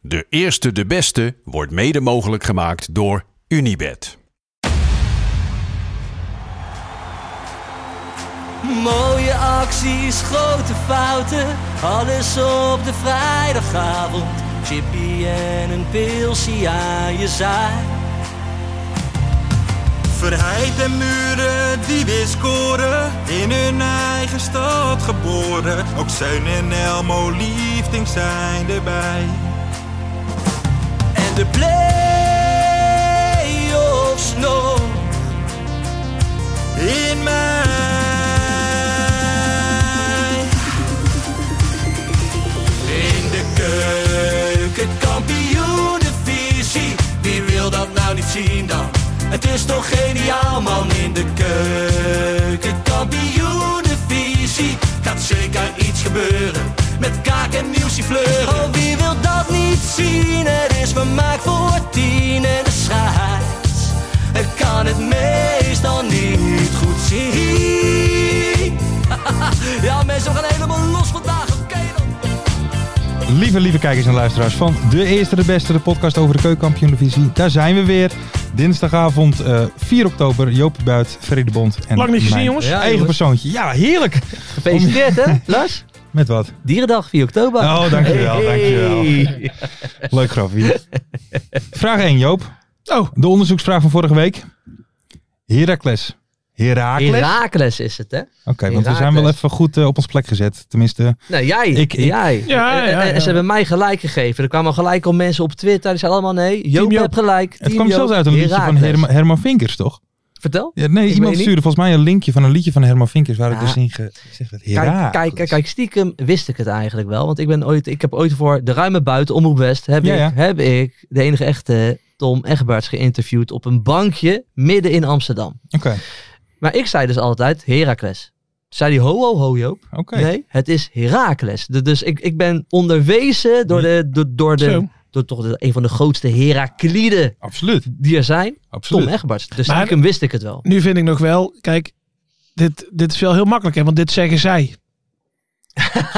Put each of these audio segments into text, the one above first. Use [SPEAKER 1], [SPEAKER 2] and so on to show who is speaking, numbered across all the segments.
[SPEAKER 1] De eerste, de beste wordt mede mogelijk gemaakt door Unibed.
[SPEAKER 2] Mooie acties, grote fouten, alles op de vrijdagavond. Chippy en een pilsie aan je zaai.
[SPEAKER 3] Verheid en muren die weer scoren, in hun eigen stad geboren. Ook Zeun en Elmo liefding zijn erbij.
[SPEAKER 2] En de play-offs nog.
[SPEAKER 3] In mij.
[SPEAKER 2] In de keuken, kampioenenvisie. Wie wil dat nou niet zien dan? Het is toch geniaal man in de keuken, kampioenenvisie. Gaat zeker iets gebeuren met kaak en nieuwsie fleuren. Oh, wie wil dat niet zien? Het is vermaakt voor tien en de scheids. Ik kan het meestal niet goed zien. ja mensen, we gaan helemaal los vandaag, oké dan.
[SPEAKER 4] Lieve, lieve kijkers en luisteraars van De Eerste de Beste, de podcast over de keukenkampioen-divisie. Daar zijn we weer. Dinsdagavond eh, 4 oktober. Joopie Buit, Ferry de Bond en
[SPEAKER 5] Lang niet gezien,
[SPEAKER 4] mijn
[SPEAKER 5] jongens.
[SPEAKER 4] eigen persoontje. Ja, heerlijk.
[SPEAKER 6] Gefeliciteerd hè, Lars?
[SPEAKER 4] Met wat?
[SPEAKER 6] Dierendag 4 oktober.
[SPEAKER 4] Oh, dankjewel, dankjewel.
[SPEAKER 6] Hey.
[SPEAKER 4] Leuk grafie. Vraag 1, Joop.
[SPEAKER 5] Oh.
[SPEAKER 4] De onderzoeksvraag van vorige week. Heracles. Herakles? Oké,
[SPEAKER 6] Herakles is het, hè?
[SPEAKER 4] want we zijn wel
[SPEAKER 6] Heracles.
[SPEAKER 4] even goed eh, op ons plek gezet. Tenminste,
[SPEAKER 6] Nou, jij.
[SPEAKER 4] Ik- ik-
[SPEAKER 6] jij.
[SPEAKER 5] Ja,
[SPEAKER 6] Eh,
[SPEAKER 5] ja,
[SPEAKER 6] eh,
[SPEAKER 5] ja.
[SPEAKER 6] Ze hebben mij gelijk gegeven. Er kwamen gelijk al mensen op Twitter. Die zeiden allemaal nee. Joop,
[SPEAKER 5] Joop.
[SPEAKER 6] heb gelijk.
[SPEAKER 4] het
[SPEAKER 6] Team
[SPEAKER 4] kwam
[SPEAKER 6] Joop.
[SPEAKER 4] zelfs uit een liedje van
[SPEAKER 6] Heracles.
[SPEAKER 4] Herma- Herman Vinkers, toch?
[SPEAKER 6] Vertel.
[SPEAKER 4] Ja, nee,
[SPEAKER 6] Ik
[SPEAKER 4] iemand
[SPEAKER 6] weet niet.
[SPEAKER 4] stuurde volgens mij een linkje van een liedje van Herman Vinkers waar ik
[SPEAKER 6] Ja.
[SPEAKER 4] dus in ge- gezegd werd.
[SPEAKER 6] Kijk,
[SPEAKER 4] Herakles.
[SPEAKER 6] kijk, kijk, kijk, stiekem wist ik het eigenlijk wel. Want ik, ben ooit, ik heb ooit voor de ruime buiten, Omroep West, heb,
[SPEAKER 4] Ja,
[SPEAKER 6] ik,
[SPEAKER 4] ja.
[SPEAKER 6] heb ik de enige echte Tom Egberts geïnterviewd op een bankje midden in Amsterdam.
[SPEAKER 4] Oké,
[SPEAKER 6] Maar ik zei dus altijd Herakles. Zei die ho ho ho Joop.
[SPEAKER 4] oké.
[SPEAKER 6] Nee, het is Herakles. De- Dus ik, ik ben onderwezen door, de, door, door, de,
[SPEAKER 5] Hm. Zo.
[SPEAKER 6] door toch de, een van de grootste Herakliden
[SPEAKER 4] Absoluut,
[SPEAKER 6] die er zijn.
[SPEAKER 4] absoluut.
[SPEAKER 6] Tom Egberts. Dus
[SPEAKER 5] Maar-
[SPEAKER 6] stiekem wist ik het wel.
[SPEAKER 5] Nu vind ik nog wel, kijk, dit, dit is wel heel makkelijk, hè, want dit zeggen zij.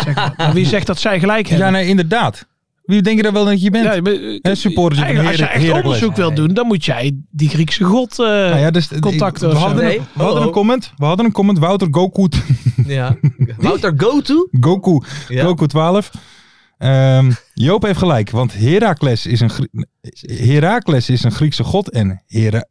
[SPEAKER 5] Zeg maar. Maar wie zegt dat zij gelijk hebben?
[SPEAKER 4] ja, nee, inderdaad. Wie denk je dan wel dat je bent?
[SPEAKER 5] Ja, maar, eh,
[SPEAKER 4] Hè, supporters van
[SPEAKER 5] eigenlijk, als je
[SPEAKER 4] Hera-
[SPEAKER 5] echt
[SPEAKER 4] Heracles.
[SPEAKER 5] onderzoek wil doen, dan moet jij die Griekse god. eh,
[SPEAKER 6] Ah,
[SPEAKER 4] Nou ja, dus,
[SPEAKER 5] contacten
[SPEAKER 4] we
[SPEAKER 5] of zo.
[SPEAKER 4] hadden,
[SPEAKER 6] Nee, Oh,
[SPEAKER 4] een, we hadden
[SPEAKER 6] hallo.
[SPEAKER 4] een comment. We hadden een comment. Wouter Goku,
[SPEAKER 6] Ja. Wouter Goto.
[SPEAKER 4] Goku,
[SPEAKER 6] Ja.
[SPEAKER 4] Goku 12. Ehm, Joop heeft gelijk, want Herakles is een, Grie- Herakles is een Griekse god en Hera,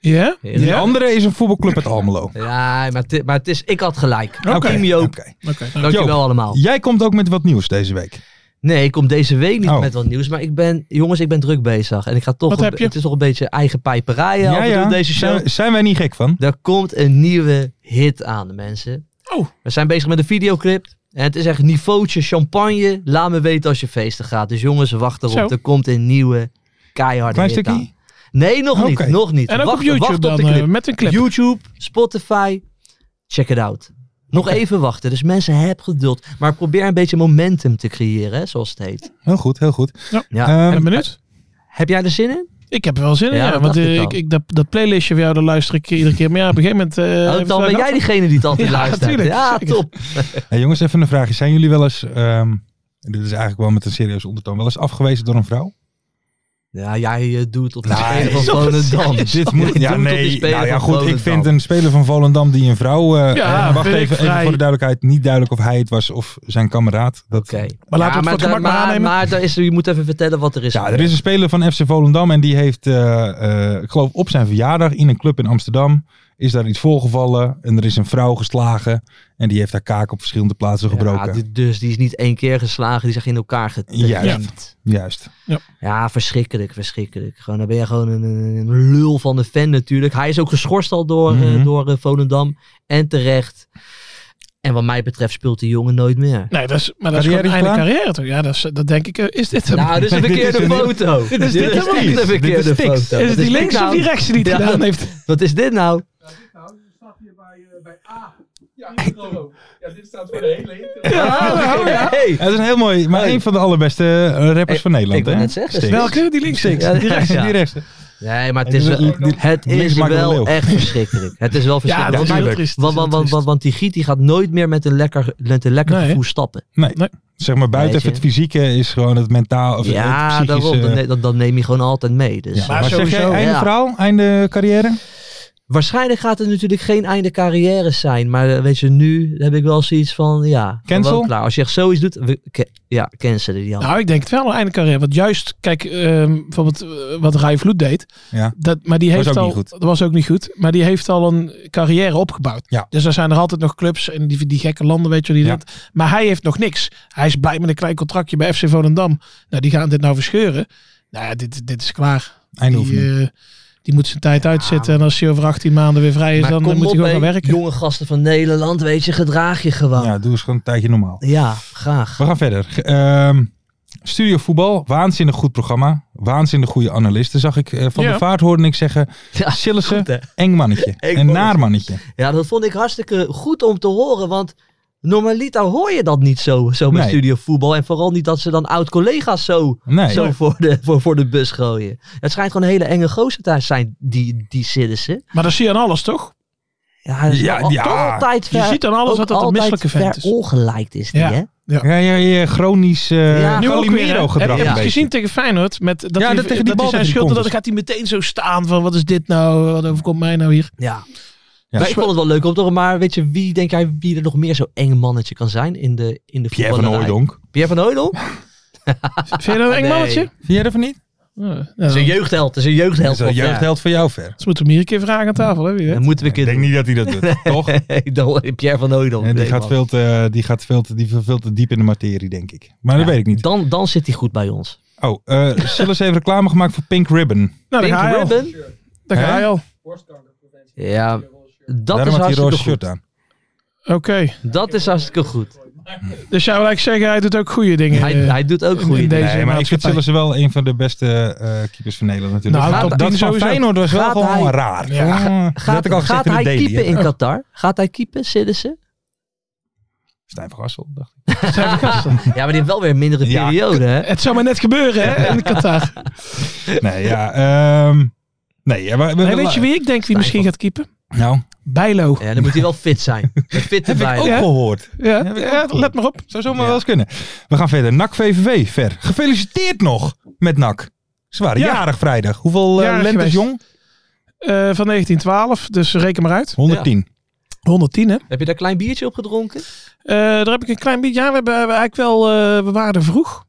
[SPEAKER 5] Ja?
[SPEAKER 6] Ja.
[SPEAKER 4] die
[SPEAKER 5] Ja?
[SPEAKER 4] andere is een voetbalclub uit Almelo. Oké,
[SPEAKER 6] Ja, maar, het- maar het is, ik had gelijk. Nou,
[SPEAKER 5] Oké.
[SPEAKER 6] Team Joop,
[SPEAKER 4] oké.
[SPEAKER 5] Oké.
[SPEAKER 6] dankjewel
[SPEAKER 4] Joop.
[SPEAKER 6] allemaal.
[SPEAKER 4] Jij komt ook met wat nieuws deze week.
[SPEAKER 6] Nee, ik kom deze week niet
[SPEAKER 4] Oh.
[SPEAKER 6] met wat nieuws. Maar ik ben, jongens, ik ben druk bezig. En ik ga toch,
[SPEAKER 5] Wat
[SPEAKER 6] een-
[SPEAKER 5] heb je?
[SPEAKER 6] het is toch een beetje eigen pijperij af en toe deze show.
[SPEAKER 4] Zijn, zijn wij niet gek van?
[SPEAKER 6] Er komt een nieuwe hit aan, mensen.
[SPEAKER 5] Oh.
[SPEAKER 6] We zijn bezig met een videoclip. En het is echt niveautje champagne. Laat me weten als je feesten gaat. Dus jongens, wacht erop.
[SPEAKER 5] Zo.
[SPEAKER 6] Er komt een nieuwe keiharde
[SPEAKER 4] Klein
[SPEAKER 6] hit
[SPEAKER 4] stukje?
[SPEAKER 6] aan. Nee, nog niet.
[SPEAKER 4] Oké.
[SPEAKER 6] Nog niet.
[SPEAKER 5] En ook
[SPEAKER 6] wacht,
[SPEAKER 5] op YouTube
[SPEAKER 6] wacht op
[SPEAKER 5] dan,
[SPEAKER 6] de clip.
[SPEAKER 5] eh, met een clip.
[SPEAKER 6] YouTube, Spotify. Check it out. Nog even wachten. Dus mensen, heb geduld. Maar probeer een beetje momentum te creëren, hè, zoals het heet.
[SPEAKER 4] Heel goed, heel goed.
[SPEAKER 6] Ja.
[SPEAKER 4] Ehm,
[SPEAKER 5] ben benieuwd.
[SPEAKER 6] Heb jij er zin in?
[SPEAKER 5] Ik heb er wel zin in,
[SPEAKER 6] Ja,
[SPEAKER 5] ja,
[SPEAKER 6] dat
[SPEAKER 5] want
[SPEAKER 6] dacht
[SPEAKER 5] eh,
[SPEAKER 6] ik al.
[SPEAKER 5] ik, ik, dat, dat playlistje van jou, daar luister ik iedere keer. Maar ja, op een gegeven moment... eh,
[SPEAKER 6] Oh,
[SPEAKER 5] heeft het
[SPEAKER 6] dan ben
[SPEAKER 5] wel
[SPEAKER 6] jij
[SPEAKER 5] gehad.
[SPEAKER 6] diegene die het altijd
[SPEAKER 5] Ja,
[SPEAKER 6] luistert.
[SPEAKER 5] tuurlijk,
[SPEAKER 6] ja,
[SPEAKER 5] zeker.
[SPEAKER 6] top.
[SPEAKER 4] Hey, jongens, even een vraagje. Zijn jullie wel eens, ehm, dit is eigenlijk wel met een serieuze ondertoon, wel eens afgewezen door een vrouw?
[SPEAKER 6] Ja, jij eh, doet tot de
[SPEAKER 4] Nee,
[SPEAKER 6] speler van
[SPEAKER 4] zo
[SPEAKER 6] Volendam.
[SPEAKER 4] Dit moet,
[SPEAKER 6] Jij
[SPEAKER 4] ja,
[SPEAKER 6] doet tot die
[SPEAKER 4] nee.
[SPEAKER 6] speler
[SPEAKER 4] Nou ja,
[SPEAKER 6] van
[SPEAKER 4] goed. Ik
[SPEAKER 6] Volendam.
[SPEAKER 4] vind een speler van Volendam die een vrouw. eh,
[SPEAKER 5] Ja,
[SPEAKER 4] eh, wacht
[SPEAKER 5] vind ik
[SPEAKER 4] even, even
[SPEAKER 5] vrij.
[SPEAKER 4] voor de duidelijkheid. Niet duidelijk of hij het was of zijn kameraad. Dat,
[SPEAKER 6] Oké.
[SPEAKER 5] Maar laten we het voor het
[SPEAKER 6] daar-
[SPEAKER 5] gemak maar aannemen.
[SPEAKER 6] Maar daar is, je moet even vertellen wat er is.
[SPEAKER 4] Ja, er is een speler van FC Volendam en die heeft, eh, eh, ik geloof, op zijn verjaardag in een club in Amsterdam. Is daar iets voorgevallen en er is een vrouw geslagen. En die heeft haar kaak op verschillende plaatsen gebroken.
[SPEAKER 6] Ja, die- dus die is niet één keer geslagen, die is echt in elkaar
[SPEAKER 4] Juist.
[SPEAKER 6] getikt.
[SPEAKER 4] Juist.
[SPEAKER 6] Ja, verschrikkelijk, verschrikkelijk. Gewoon, dan ben je gewoon een, een- een lul van de fan natuurlijk. Hij is ook geschorst al door, eh,
[SPEAKER 4] Mhm.
[SPEAKER 6] door eh, Volendam. En terecht. En wat mij betreft speelt die jongen nooit meer.
[SPEAKER 5] Nee, dat is, maar dat is
[SPEAKER 4] Carrière
[SPEAKER 5] gewoon een einde
[SPEAKER 4] klaar?
[SPEAKER 5] carrière toch? Ja, dat, is, dat denk ik. eh, Is dit hem?
[SPEAKER 6] Nou, dit is een
[SPEAKER 4] Dit is
[SPEAKER 6] verkeerde
[SPEAKER 4] een-
[SPEAKER 6] foto. Dit
[SPEAKER 5] is dit helemaal
[SPEAKER 6] echt
[SPEAKER 5] niet.
[SPEAKER 6] een
[SPEAKER 5] Dit
[SPEAKER 6] verkeerde
[SPEAKER 4] is niks.
[SPEAKER 6] foto.
[SPEAKER 5] is
[SPEAKER 6] Wat
[SPEAKER 5] het die
[SPEAKER 6] dit
[SPEAKER 5] links of
[SPEAKER 6] nou?
[SPEAKER 5] die rechtse die het
[SPEAKER 6] Ja.
[SPEAKER 5] gedaan heeft?
[SPEAKER 6] Wat is dit nou? eh,
[SPEAKER 5] Ja, oh, ja.
[SPEAKER 6] Hey.
[SPEAKER 4] Ja, dat is een heel mooi, maar
[SPEAKER 6] Hey.
[SPEAKER 4] een van de allerbeste eh, rappers
[SPEAKER 6] Hey,
[SPEAKER 4] van Nederland.
[SPEAKER 6] ik wil
[SPEAKER 4] hè?
[SPEAKER 6] net zeggen,
[SPEAKER 4] Sticks.
[SPEAKER 5] Welke? Die links.
[SPEAKER 4] Sticks.
[SPEAKER 6] Ja,
[SPEAKER 4] die rechtste,
[SPEAKER 6] ja.
[SPEAKER 4] die rechtste.
[SPEAKER 6] Nee, maar het
[SPEAKER 4] En
[SPEAKER 6] is
[SPEAKER 4] die-
[SPEAKER 6] wel,
[SPEAKER 4] die-
[SPEAKER 6] het
[SPEAKER 4] links
[SPEAKER 6] is
[SPEAKER 4] maken we
[SPEAKER 6] wel
[SPEAKER 4] leeuw.
[SPEAKER 6] echt verschrikkelijk. Het is wel
[SPEAKER 5] Ja,
[SPEAKER 6] verschrikkelijk.
[SPEAKER 5] dat is
[SPEAKER 6] want,
[SPEAKER 5] heel
[SPEAKER 4] Tuurlijk.
[SPEAKER 5] triest.
[SPEAKER 6] want, want, want, want, want die Giet die gaat nooit meer met een lekker, met een lekker
[SPEAKER 5] Nee.
[SPEAKER 6] gevoel stappen.
[SPEAKER 4] Zeg maar
[SPEAKER 6] Weet
[SPEAKER 4] buiten
[SPEAKER 6] je.
[SPEAKER 4] even het fysieke is gewoon het mentaal of
[SPEAKER 6] ja,
[SPEAKER 4] het psychische.
[SPEAKER 6] daarom. Dan, ne- dan, dan neem je gewoon altijd mee. Dus.
[SPEAKER 4] ja.
[SPEAKER 5] eh, Maar
[SPEAKER 4] Maar zeg jij
[SPEAKER 5] sowieso,
[SPEAKER 4] einde
[SPEAKER 6] ja.
[SPEAKER 4] verhaal, einde carrière?
[SPEAKER 6] Waarschijnlijk gaat het natuurlijk geen einde carrière zijn. Maar eh, weet je, nu heb ik wel zoiets van, ja. gewoon
[SPEAKER 4] Cancel?
[SPEAKER 6] Klaar. Als je echt zoiets doet, we- ke- ja, cancelen die al.
[SPEAKER 5] Nou, ik denk het wel een einde carrière. Want juist, kijk, ehm, bijvoorbeeld eh, wat Rai Vloed deed.
[SPEAKER 4] Ja.
[SPEAKER 5] Dat, maar die
[SPEAKER 4] Was
[SPEAKER 5] heeft
[SPEAKER 4] ook
[SPEAKER 5] al,
[SPEAKER 4] niet goed.
[SPEAKER 5] Dat was ook niet goed. Maar die heeft al een carrière opgebouwd.
[SPEAKER 4] Ja.
[SPEAKER 5] Dus er zijn er altijd nog clubs in die, die gekke landen, weet je wel, die
[SPEAKER 4] Ja.
[SPEAKER 5] dat. Maar hij heeft nog niks. Hij is blij met een klein contractje bij FC Volendam. Nou, die gaan dit nou verscheuren. Nou ja, dit, dit is klaar.
[SPEAKER 4] Einde
[SPEAKER 5] Die,
[SPEAKER 4] oefening.
[SPEAKER 5] eh, die moet zijn tijd uitzitten. En als hij over 18 maanden weer vrij is,
[SPEAKER 6] maar
[SPEAKER 5] dan
[SPEAKER 6] kom
[SPEAKER 5] eh, moet hij
[SPEAKER 6] op,
[SPEAKER 5] gewoon gaan
[SPEAKER 6] hé,
[SPEAKER 5] werken.
[SPEAKER 6] jonge gasten van Nederland, weet je, gedraag je
[SPEAKER 5] eh,
[SPEAKER 6] gewoon. Ja,
[SPEAKER 4] Ja, doe eens gewoon een tijdje normaal.
[SPEAKER 6] graag.
[SPEAKER 4] We gaan verder. Ge- ehm, Studio Voetbal, waanzinnig goed programma. Waanzinnig goede analisten. Zag ik eh, van
[SPEAKER 5] Ja.
[SPEAKER 4] de vaart hoorde ik zeggen.
[SPEAKER 6] Ja,
[SPEAKER 4] Sillessen,
[SPEAKER 6] goed, hè?
[SPEAKER 4] eng mannetje. Een
[SPEAKER 6] mannetje.
[SPEAKER 4] naar mannetje.
[SPEAKER 6] Ja, dat vond ik hartstikke goed om te horen. Want normaliter hoor je dat niet zo, zo met
[SPEAKER 4] Nee.
[SPEAKER 6] studio voetbal. En vooral niet dat ze dan oud-collega's zo,
[SPEAKER 4] Nee.
[SPEAKER 6] zo voor, de, voor, voor de bus gooien. Het schijnt gewoon een hele enge gozer te zijn, die, die Siddissen.
[SPEAKER 5] Maar dat zie je aan alles, toch?
[SPEAKER 6] Ja, dat is
[SPEAKER 4] Ja,
[SPEAKER 6] al-
[SPEAKER 4] ja.
[SPEAKER 6] altijd
[SPEAKER 5] Je
[SPEAKER 6] ver-
[SPEAKER 5] ziet aan alles
[SPEAKER 6] ook
[SPEAKER 5] dat dat een
[SPEAKER 6] altijd
[SPEAKER 5] misselijke vent is.
[SPEAKER 6] verongelijkt is die,
[SPEAKER 5] Ja.
[SPEAKER 6] hè?
[SPEAKER 4] Ja, ja, ja, chronisch eh
[SPEAKER 6] Ja.
[SPEAKER 5] Nu ook weer, hè?
[SPEAKER 4] Calimero
[SPEAKER 5] Heb
[SPEAKER 4] gedrag.
[SPEAKER 5] je
[SPEAKER 4] een
[SPEAKER 5] het
[SPEAKER 4] beetje.
[SPEAKER 5] gezien tegen Feyenoord? Met, dat
[SPEAKER 4] Ja,
[SPEAKER 5] hij,
[SPEAKER 4] dat tegen die
[SPEAKER 5] dat
[SPEAKER 4] bal
[SPEAKER 5] hij
[SPEAKER 4] dat
[SPEAKER 5] zijn
[SPEAKER 4] hij
[SPEAKER 5] schuld
[SPEAKER 4] komt
[SPEAKER 5] had, dan
[SPEAKER 4] is.
[SPEAKER 5] gaat hij meteen zo staan van wat is dit nou? Wat overkomt mij nou hier?
[SPEAKER 6] Ja.
[SPEAKER 4] Ja.
[SPEAKER 6] Maar ik vond het wel leuk om te horen. Maar weet je, wie denk jij wie er nog meer zo'n eng mannetje kan zijn in de, in de
[SPEAKER 4] Pierre van
[SPEAKER 6] voetballerij?
[SPEAKER 4] Hooijdonk.
[SPEAKER 6] Pierre van Hooydonk?
[SPEAKER 5] Vind je dat
[SPEAKER 4] Ah,
[SPEAKER 5] een eng
[SPEAKER 6] Nee.
[SPEAKER 5] mannetje?
[SPEAKER 4] Vind jij ervan niet?
[SPEAKER 5] Ja,
[SPEAKER 6] Dat is een
[SPEAKER 5] nou,
[SPEAKER 6] jeugdheld. Dat is een jeugdheld.
[SPEAKER 4] Dat is een
[SPEAKER 6] Ja.
[SPEAKER 4] jeugdheld voor jou ver.
[SPEAKER 5] Ze moeten hem hier een keer vragen aan tafel, hè? Nou, Wie weet.
[SPEAKER 6] Dan moeten we een
[SPEAKER 4] Ik
[SPEAKER 6] keer
[SPEAKER 4] denk
[SPEAKER 6] doen.
[SPEAKER 4] niet dat hij dat doet, toch?
[SPEAKER 6] Dan eh, Pierre van Hooydonk.
[SPEAKER 4] En die,
[SPEAKER 6] nee,
[SPEAKER 4] gaat
[SPEAKER 6] man.
[SPEAKER 4] veel te, die gaat veel te, die viel veel te diep in de materie, denk ik. Maar dat
[SPEAKER 6] Ja,
[SPEAKER 4] weet ik niet.
[SPEAKER 6] Dan, dan zit hij goed bij ons.
[SPEAKER 4] Oh, eh Sillis heeft reclame gemaakt voor Pink Ribbon.
[SPEAKER 5] Nou, daar
[SPEAKER 6] Pink
[SPEAKER 5] ga je al.
[SPEAKER 6] Ribbon?
[SPEAKER 5] Daar ga je
[SPEAKER 4] Hè?
[SPEAKER 5] al.
[SPEAKER 6] Ja, dat
[SPEAKER 4] Daarom
[SPEAKER 6] is
[SPEAKER 4] had hij
[SPEAKER 6] hartstikke
[SPEAKER 4] roze
[SPEAKER 6] goed.
[SPEAKER 4] shirt aan.
[SPEAKER 5] Oké.
[SPEAKER 6] Dat is hartstikke goed.
[SPEAKER 5] Dus jij wil eigenlijk zeggen, hij doet ook goede dingen.
[SPEAKER 6] Hij,
[SPEAKER 5] eh.
[SPEAKER 6] hij doet ook
[SPEAKER 5] in
[SPEAKER 6] goede
[SPEAKER 5] deze-
[SPEAKER 6] dingen.
[SPEAKER 4] Nee, maar ik vind
[SPEAKER 5] maatschappij.
[SPEAKER 4] Sillis wel een van de beste eh, keepers van Nederland natuurlijk.
[SPEAKER 5] Nou,
[SPEAKER 4] Dat-
[SPEAKER 6] top
[SPEAKER 4] dat van
[SPEAKER 5] tien sowieso.
[SPEAKER 4] Feyenoord was wel
[SPEAKER 6] Gaat
[SPEAKER 4] gewoon
[SPEAKER 6] hij-
[SPEAKER 4] raar.
[SPEAKER 5] Ja.
[SPEAKER 4] Ja, dat had
[SPEAKER 6] Gaat,
[SPEAKER 4] ik al
[SPEAKER 6] gaat
[SPEAKER 4] gezegd in de
[SPEAKER 6] hij
[SPEAKER 4] daily.
[SPEAKER 6] keepen
[SPEAKER 4] hè.
[SPEAKER 6] in Qatar? Gaat hij keepen, Siddissen?
[SPEAKER 4] Stijn van Gassel, dacht ik.
[SPEAKER 6] Ja, maar die heeft wel weer een mindere
[SPEAKER 4] Ja.
[SPEAKER 6] periode, hè?
[SPEAKER 5] Het zou maar net gebeuren, hè? In Qatar.
[SPEAKER 4] Nee, ja. ehm, nee, ja, maar,
[SPEAKER 5] Nee, weet je wie ik denk wie misschien gaat keepen?
[SPEAKER 4] Nou,
[SPEAKER 5] Bijlo.
[SPEAKER 6] Ja, dan moet hij wel fit zijn. Een fitte bij.
[SPEAKER 4] ook
[SPEAKER 5] Ja.
[SPEAKER 4] gehoord.
[SPEAKER 5] Ja,
[SPEAKER 4] heb ik
[SPEAKER 5] ja,
[SPEAKER 4] ook.
[SPEAKER 5] let maar op.
[SPEAKER 4] Zou zomaar
[SPEAKER 6] Ja.
[SPEAKER 4] wel eens kunnen. We gaan verder. NAC VVV, ver. Gefeliciteerd nog met NAC. Ze waren
[SPEAKER 5] Ja.
[SPEAKER 4] jarig vrijdag. Hoeveel eh
[SPEAKER 5] Jarig
[SPEAKER 4] lentes
[SPEAKER 5] geweest.
[SPEAKER 4] jong?
[SPEAKER 5] Eh, van 1912, dus reken maar uit.
[SPEAKER 4] 110.
[SPEAKER 5] 110, hè?
[SPEAKER 6] Heb je daar een klein biertje op gedronken?
[SPEAKER 5] Eh, daar heb ik een klein beetje. Ja, we, hebben, we hebben eigenlijk wel. eh, we waren er vroeg.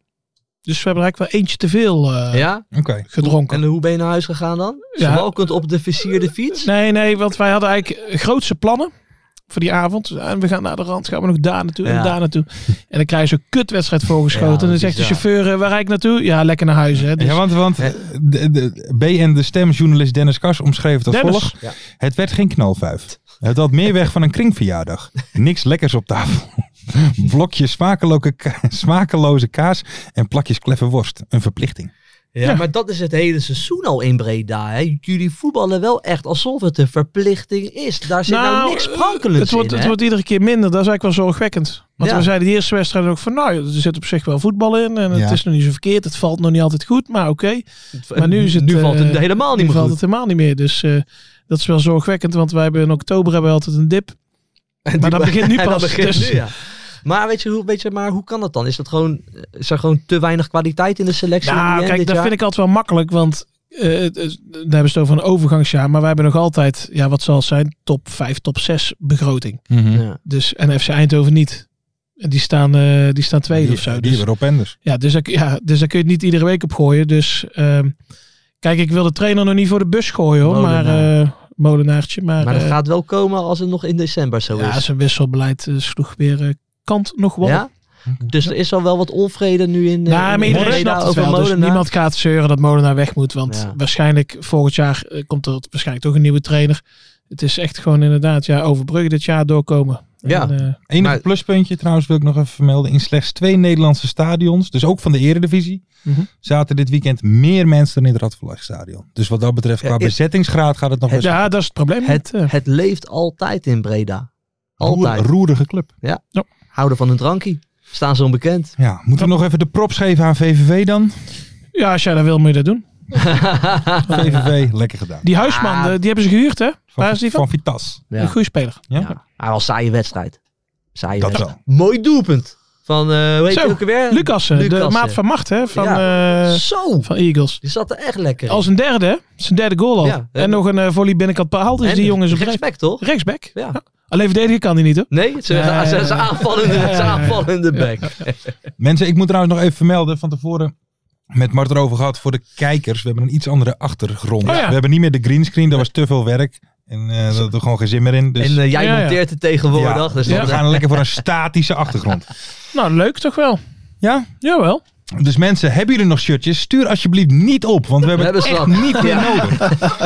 [SPEAKER 5] Dus we hebben er eigenlijk wel eentje te veel eh,
[SPEAKER 6] ja.
[SPEAKER 4] Oké.
[SPEAKER 5] gedronken.
[SPEAKER 6] En hoe ben je naar huis gegaan dan?
[SPEAKER 5] Ja.
[SPEAKER 6] Zwalkend op de versierde fiets?
[SPEAKER 5] Nee, nee, want wij hadden eigenlijk grootse plannen voor die avond. En we gaan naar de rand, gaan we nog daar naartoe en
[SPEAKER 6] Ja.
[SPEAKER 5] daar naartoe. En dan krijg je zo'n kutwedstrijd
[SPEAKER 6] Ja,
[SPEAKER 5] voorgeschoten. en dan
[SPEAKER 6] dat
[SPEAKER 5] zegt de
[SPEAKER 6] is
[SPEAKER 5] chauffeur, eh, waar rijd ik naartoe? Ja, lekker naar huis. Hè. Dus
[SPEAKER 4] Ja, want, want
[SPEAKER 6] Hè?
[SPEAKER 4] de, de, BN De Stem-journalist Dennis Kars omschreef het als
[SPEAKER 5] Dennis.
[SPEAKER 4] volgt.
[SPEAKER 6] Ja.
[SPEAKER 4] Het werd geen knalvuif. Het had meer weg van een kringverjaardag. Niks lekkers op tafel. Blokjes smakeloze, ka- smakeloze kaas en plakjes kleffe worst. Een verplichting.
[SPEAKER 6] Ja, maar dat is het hele seizoen al in Breda. Hè. Jullie voetballen wel echt alsof het een verplichting is. Daar zit nou, niks
[SPEAKER 5] eh,
[SPEAKER 6] sprankelends
[SPEAKER 5] het wordt,
[SPEAKER 6] in.
[SPEAKER 5] Het
[SPEAKER 6] hè.
[SPEAKER 5] wordt iedere keer minder. Dat is eigenlijk wel zorgwekkend. Want
[SPEAKER 6] Ja.
[SPEAKER 5] we zeiden de eerste wedstrijd ook van... Nou, er zit op zich wel voetbal in. En
[SPEAKER 4] Ja.
[SPEAKER 5] het is nog niet zo verkeerd. Het valt nog niet altijd goed, maar oké. Maar nu is het,
[SPEAKER 6] nu valt het
[SPEAKER 5] eh,
[SPEAKER 6] helemaal
[SPEAKER 5] Nu
[SPEAKER 6] niet meer
[SPEAKER 5] valt
[SPEAKER 6] goed.
[SPEAKER 5] het helemaal niet meer. Dus eh, dat is wel zorgwekkend. Want wij hebben in oktober hebben we altijd een dip. Maar dat begint nu
[SPEAKER 6] En dat
[SPEAKER 5] pas.
[SPEAKER 6] begint
[SPEAKER 5] dus-
[SPEAKER 6] nu, ja. Maar weet je, hoe, weet je, maar hoe kan dat dan? Is dat gewoon, eh, is er gewoon te weinig kwaliteit in de selectie? in
[SPEAKER 5] Nou,
[SPEAKER 6] die end
[SPEAKER 5] kijk,
[SPEAKER 6] dit
[SPEAKER 5] dat
[SPEAKER 6] jaar?
[SPEAKER 5] vind ik altijd wel makkelijk, want eh, het is- dan hebben ze het over een overgangsjaar. Maar wij hebben nog altijd, ja, wat zal het zijn, top 5, top 6 begroting.
[SPEAKER 6] Ja.
[SPEAKER 5] Dus, en FC Eindhoven niet. En die staan, eh, die staan tweede
[SPEAKER 4] Die-
[SPEAKER 5] of zo.
[SPEAKER 4] Die
[SPEAKER 5] Dus,
[SPEAKER 4] hebben Rob Enders.
[SPEAKER 5] ja, dus, daar- ja, dus daar kun je het niet iedere week op gooien. Dus ehm, kijk, ik wil de trainer nog niet voor de bus gooien hoor, maar
[SPEAKER 6] Molenaar.
[SPEAKER 5] eh, molenaartje. Maar,
[SPEAKER 6] Maar dat
[SPEAKER 5] eh,
[SPEAKER 6] gaat wel komen als het nog in december zo
[SPEAKER 5] ja,
[SPEAKER 6] is.
[SPEAKER 5] zijn wisselbeleid eh, sloeg weer eh, kant nog wel.
[SPEAKER 6] Ja? Dus er is al wel wat onvrede nu in, eh,
[SPEAKER 5] Nou, maar
[SPEAKER 6] in
[SPEAKER 5] iedereen
[SPEAKER 6] Breda
[SPEAKER 5] snapt het
[SPEAKER 6] over
[SPEAKER 5] wel. Dus
[SPEAKER 6] Molenaar.
[SPEAKER 5] niemand gaat zeuren dat Molenaar weg moet. Want
[SPEAKER 6] Ja.
[SPEAKER 5] waarschijnlijk volgend jaar eh, komt er waarschijnlijk toch een nieuwe trainer. Het is echt gewoon inderdaad, ja, overbruggen dit jaar doorkomen.
[SPEAKER 6] Ja.
[SPEAKER 5] En, eh,
[SPEAKER 4] Enig
[SPEAKER 6] Maar-
[SPEAKER 4] pluspuntje trouwens wil ik nog even vermelden. In slechts twee Nederlandse stadions, dus ook van de eredivisie,
[SPEAKER 5] Mhm.
[SPEAKER 4] zaten dit weekend meer mensen dan in het Radverlegstadion. Dus wat dat betreft,
[SPEAKER 6] Ja,
[SPEAKER 4] qua
[SPEAKER 6] het-
[SPEAKER 4] bezettingsgraad gaat het nog best
[SPEAKER 5] ja, dat is het probleem.
[SPEAKER 6] Het,
[SPEAKER 5] niet, eh.
[SPEAKER 6] het leeft altijd in Breda.
[SPEAKER 4] een
[SPEAKER 6] Altijd.
[SPEAKER 4] roerige club.
[SPEAKER 6] Houden van een drankie. Staan ze onbekend.
[SPEAKER 4] Ja, moeten we nog even de props geven aan VVV dan?
[SPEAKER 5] Ja, als jij dat wil, moet je dat doen.
[SPEAKER 4] VVV, lekker gedaan.
[SPEAKER 5] Die huisman,
[SPEAKER 6] Ah.
[SPEAKER 5] eh, die hebben ze gehuurd, hè? Waar
[SPEAKER 4] Van,
[SPEAKER 5] is die
[SPEAKER 4] van
[SPEAKER 5] van?
[SPEAKER 4] Vitas.
[SPEAKER 6] Ja.
[SPEAKER 5] Een goede speler.
[SPEAKER 4] Ja?
[SPEAKER 6] Ja. Maar wel saaie wedstrijd. Saaie
[SPEAKER 4] Dat
[SPEAKER 6] wedstrijd. Mooi doelpunt. Van, eh hoe heet
[SPEAKER 5] Zo,
[SPEAKER 6] die ook alweer?
[SPEAKER 5] Lucassen, de
[SPEAKER 6] Lucassen.
[SPEAKER 5] maat van macht, hè? Van, eh,
[SPEAKER 6] Zo.
[SPEAKER 5] van Eagles.
[SPEAKER 6] Die zat er echt lekker in.
[SPEAKER 5] Als een derde, hè? zijn derde goal al.
[SPEAKER 6] Ja, hè?
[SPEAKER 5] en nog een eh, volley binnenkant paal. Dus
[SPEAKER 6] En eh,
[SPEAKER 5] die jongen is op rechts-
[SPEAKER 6] Respect, toch?
[SPEAKER 5] rechtsback.
[SPEAKER 6] Ja.
[SPEAKER 5] Alleen verdedigen kan hij niet, hoor.
[SPEAKER 6] Nee, ze
[SPEAKER 5] Ja,
[SPEAKER 6] ze-
[SPEAKER 5] ja,
[SPEAKER 6] ze
[SPEAKER 5] ja.
[SPEAKER 6] aanvallende,
[SPEAKER 5] Ja, ja,
[SPEAKER 6] ze
[SPEAKER 5] ja.
[SPEAKER 6] aanvallende back.
[SPEAKER 4] Mensen, ik moet trouwens nog even vermelden van tevoren. Met Mart erover gehad voor de kijkers. We hebben een iets andere achtergrond.
[SPEAKER 5] Oh ja.
[SPEAKER 4] We hebben niet meer de greenscreen. Dat was te veel werk. En eh daar hadden we gewoon geen zin meer in. Dus
[SPEAKER 6] En eh, jij
[SPEAKER 5] Ja, ja.
[SPEAKER 6] monteert het tegenwoordig.
[SPEAKER 4] Ja,
[SPEAKER 6] dus
[SPEAKER 4] we
[SPEAKER 6] dan-
[SPEAKER 4] gaan lekker voor een statische achtergrond.
[SPEAKER 5] Nou, leuk toch wel?
[SPEAKER 4] Ja?
[SPEAKER 5] Jawel.
[SPEAKER 4] Dus mensen, hebben jullie nog shirtjes? Stuur alsjeblieft niet op, want we hebben het
[SPEAKER 6] We
[SPEAKER 4] echt
[SPEAKER 6] hebben
[SPEAKER 4] niet meer nodig.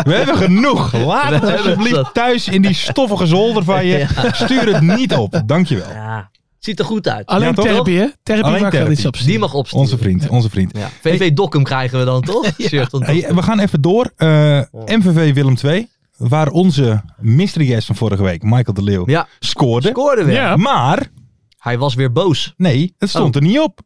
[SPEAKER 4] We hebben genoeg. Laat het
[SPEAKER 6] We hebben
[SPEAKER 4] alsjeblieft
[SPEAKER 6] zat.
[SPEAKER 4] thuis in die stoffige zolder van je. Stuur het niet op. Dankjewel.
[SPEAKER 6] Ja, ziet er goed uit.
[SPEAKER 5] Alleen
[SPEAKER 4] Ja, toch?
[SPEAKER 5] therapie, hè? Therapie
[SPEAKER 4] Alleen
[SPEAKER 5] mag er
[SPEAKER 4] therapie.
[SPEAKER 5] iets op.
[SPEAKER 6] Die mag opsturen.
[SPEAKER 4] Onze vriend, onze vriend.
[SPEAKER 6] Ja. VV Dokkum krijgen we dan, toch? Shirt on
[SPEAKER 4] Hey, we gaan even door. Eh, MVV Willem II, waar onze mystery guest van vorige week, Michael de Leeuw,
[SPEAKER 6] Ja,
[SPEAKER 4] scoorde.
[SPEAKER 6] scoorde weer.
[SPEAKER 5] Ja.
[SPEAKER 4] Maar,
[SPEAKER 6] Hij was weer boos.
[SPEAKER 4] nee, het stond er niet op.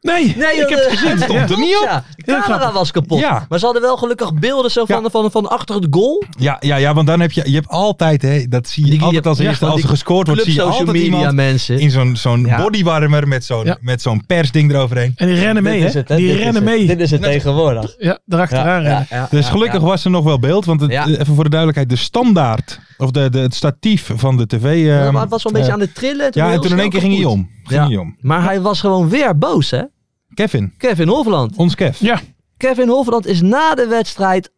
[SPEAKER 5] Nee.
[SPEAKER 6] Nee, eh,
[SPEAKER 4] Ik heb het gezien, het stond er niet op.
[SPEAKER 6] Oh. Ja, de camera
[SPEAKER 5] grappig.
[SPEAKER 6] was kapot.
[SPEAKER 4] Ja.
[SPEAKER 6] Maar ze hadden wel gelukkig beelden zo van,
[SPEAKER 4] Ja.
[SPEAKER 6] van, van achter het goal.
[SPEAKER 4] Ja, ja, ja, want dan heb je, je hebt altijd, hè, dat zie je
[SPEAKER 6] Die- die
[SPEAKER 4] altijd als
[SPEAKER 6] heb-
[SPEAKER 4] eerste,
[SPEAKER 6] ja,
[SPEAKER 4] als er
[SPEAKER 6] die
[SPEAKER 4] gescoord wordt,
[SPEAKER 6] Club
[SPEAKER 4] zie je
[SPEAKER 6] social
[SPEAKER 4] altijd
[SPEAKER 6] media
[SPEAKER 4] iemand
[SPEAKER 6] mensen.
[SPEAKER 4] in zo'n zo'n
[SPEAKER 6] Ja.
[SPEAKER 4] bodywarmer met zo'n
[SPEAKER 5] Ja.
[SPEAKER 4] met zo'n persding eroverheen.
[SPEAKER 5] En die rennen mee,
[SPEAKER 6] Dit is
[SPEAKER 5] hè?
[SPEAKER 6] het, hè?
[SPEAKER 5] Die
[SPEAKER 6] Dit is
[SPEAKER 5] rennen
[SPEAKER 6] het.
[SPEAKER 5] mee.
[SPEAKER 6] Dit is het tegenwoordig.
[SPEAKER 5] Ja, erachteraan rennen.
[SPEAKER 4] Dus gelukkig was er nog wel beeld, want het,
[SPEAKER 6] Ja.
[SPEAKER 4] eh, even voor de duidelijkheid, de standaard, of de, de, het statief van de tv. eh,
[SPEAKER 6] Ja, maar het was wel een beetje aan het trillen.
[SPEAKER 4] ja, en
[SPEAKER 6] heel
[SPEAKER 4] toen in één keer
[SPEAKER 6] snel
[SPEAKER 4] ging hij
[SPEAKER 6] kapot.
[SPEAKER 4] om. Ging
[SPEAKER 6] Ja.
[SPEAKER 4] hij om.
[SPEAKER 6] Maar hij was gewoon weer boos, hè?
[SPEAKER 4] Kevin,
[SPEAKER 6] Kevin Hofland.
[SPEAKER 4] ons Kev.
[SPEAKER 5] Ja.
[SPEAKER 6] Kevin Hofland is na de wedstrijd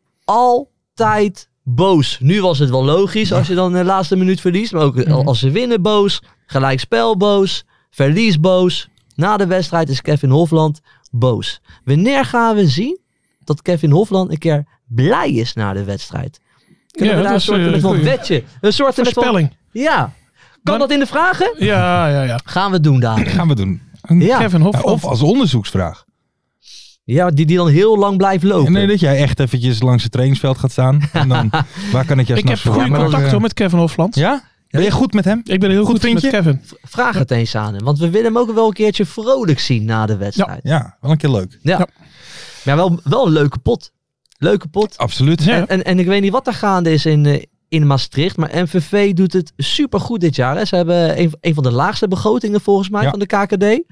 [SPEAKER 6] altijd boos. Nu was het wel logisch als je dan de laatste minuut verliest. Maar ook eh,
[SPEAKER 5] Mhm.
[SPEAKER 6] als ze winnen boos, gelijkspel boos, verlies boos. Na de wedstrijd is Kevin Hofland boos. Wanneer gaan we zien dat Kevin Hofland een keer blij is na de wedstrijd? Kunnen
[SPEAKER 5] Ja,
[SPEAKER 6] we daar
[SPEAKER 5] dat
[SPEAKER 6] een
[SPEAKER 5] is,
[SPEAKER 6] soort
[SPEAKER 5] eh,
[SPEAKER 6] met van
[SPEAKER 5] goeie.
[SPEAKER 6] wetje? Een soort met van...
[SPEAKER 5] Voorspelling.
[SPEAKER 6] Ja. Kan
[SPEAKER 5] Maar-
[SPEAKER 6] dat in de vragen?
[SPEAKER 5] Ja, ja, ja.
[SPEAKER 6] Gaan we doen daar.
[SPEAKER 4] Gaan we doen.
[SPEAKER 6] Ja,
[SPEAKER 5] Kevin
[SPEAKER 4] Ja,
[SPEAKER 5] Hofland.
[SPEAKER 4] Of als onderzoeksvraag.
[SPEAKER 6] ja die, die dan heel lang blijft lopen.
[SPEAKER 4] Nee, dat jij echt eventjes langs het trainingsveld gaat staan. En dan, waar kan ik jou
[SPEAKER 5] Ik heb
[SPEAKER 4] s'nachts
[SPEAKER 5] goede
[SPEAKER 4] verwachten?
[SPEAKER 5] contact hoor, met Kevin Hofland.
[SPEAKER 4] Ja? Ben je goed met hem?
[SPEAKER 5] Ik ben heel goed, met
[SPEAKER 4] vriendje?
[SPEAKER 5] Kevin.
[SPEAKER 6] Vraag het eens aan hem. Want we willen hem ook wel een keertje vrolijk zien na de wedstrijd.
[SPEAKER 4] Ja, wel een keer leuk.
[SPEAKER 6] Ja. Maar wel, wel een leuke pot. Leuke pot.
[SPEAKER 4] Absoluut.
[SPEAKER 5] Ja.
[SPEAKER 6] En, en ik weet niet wat er gaande is in, eh, in Maastricht. Maar MVV doet het supergoed dit jaar. Hè. Ze hebben een, een van de laagste begrotingen volgens mij
[SPEAKER 4] Ja.
[SPEAKER 6] van de KKD.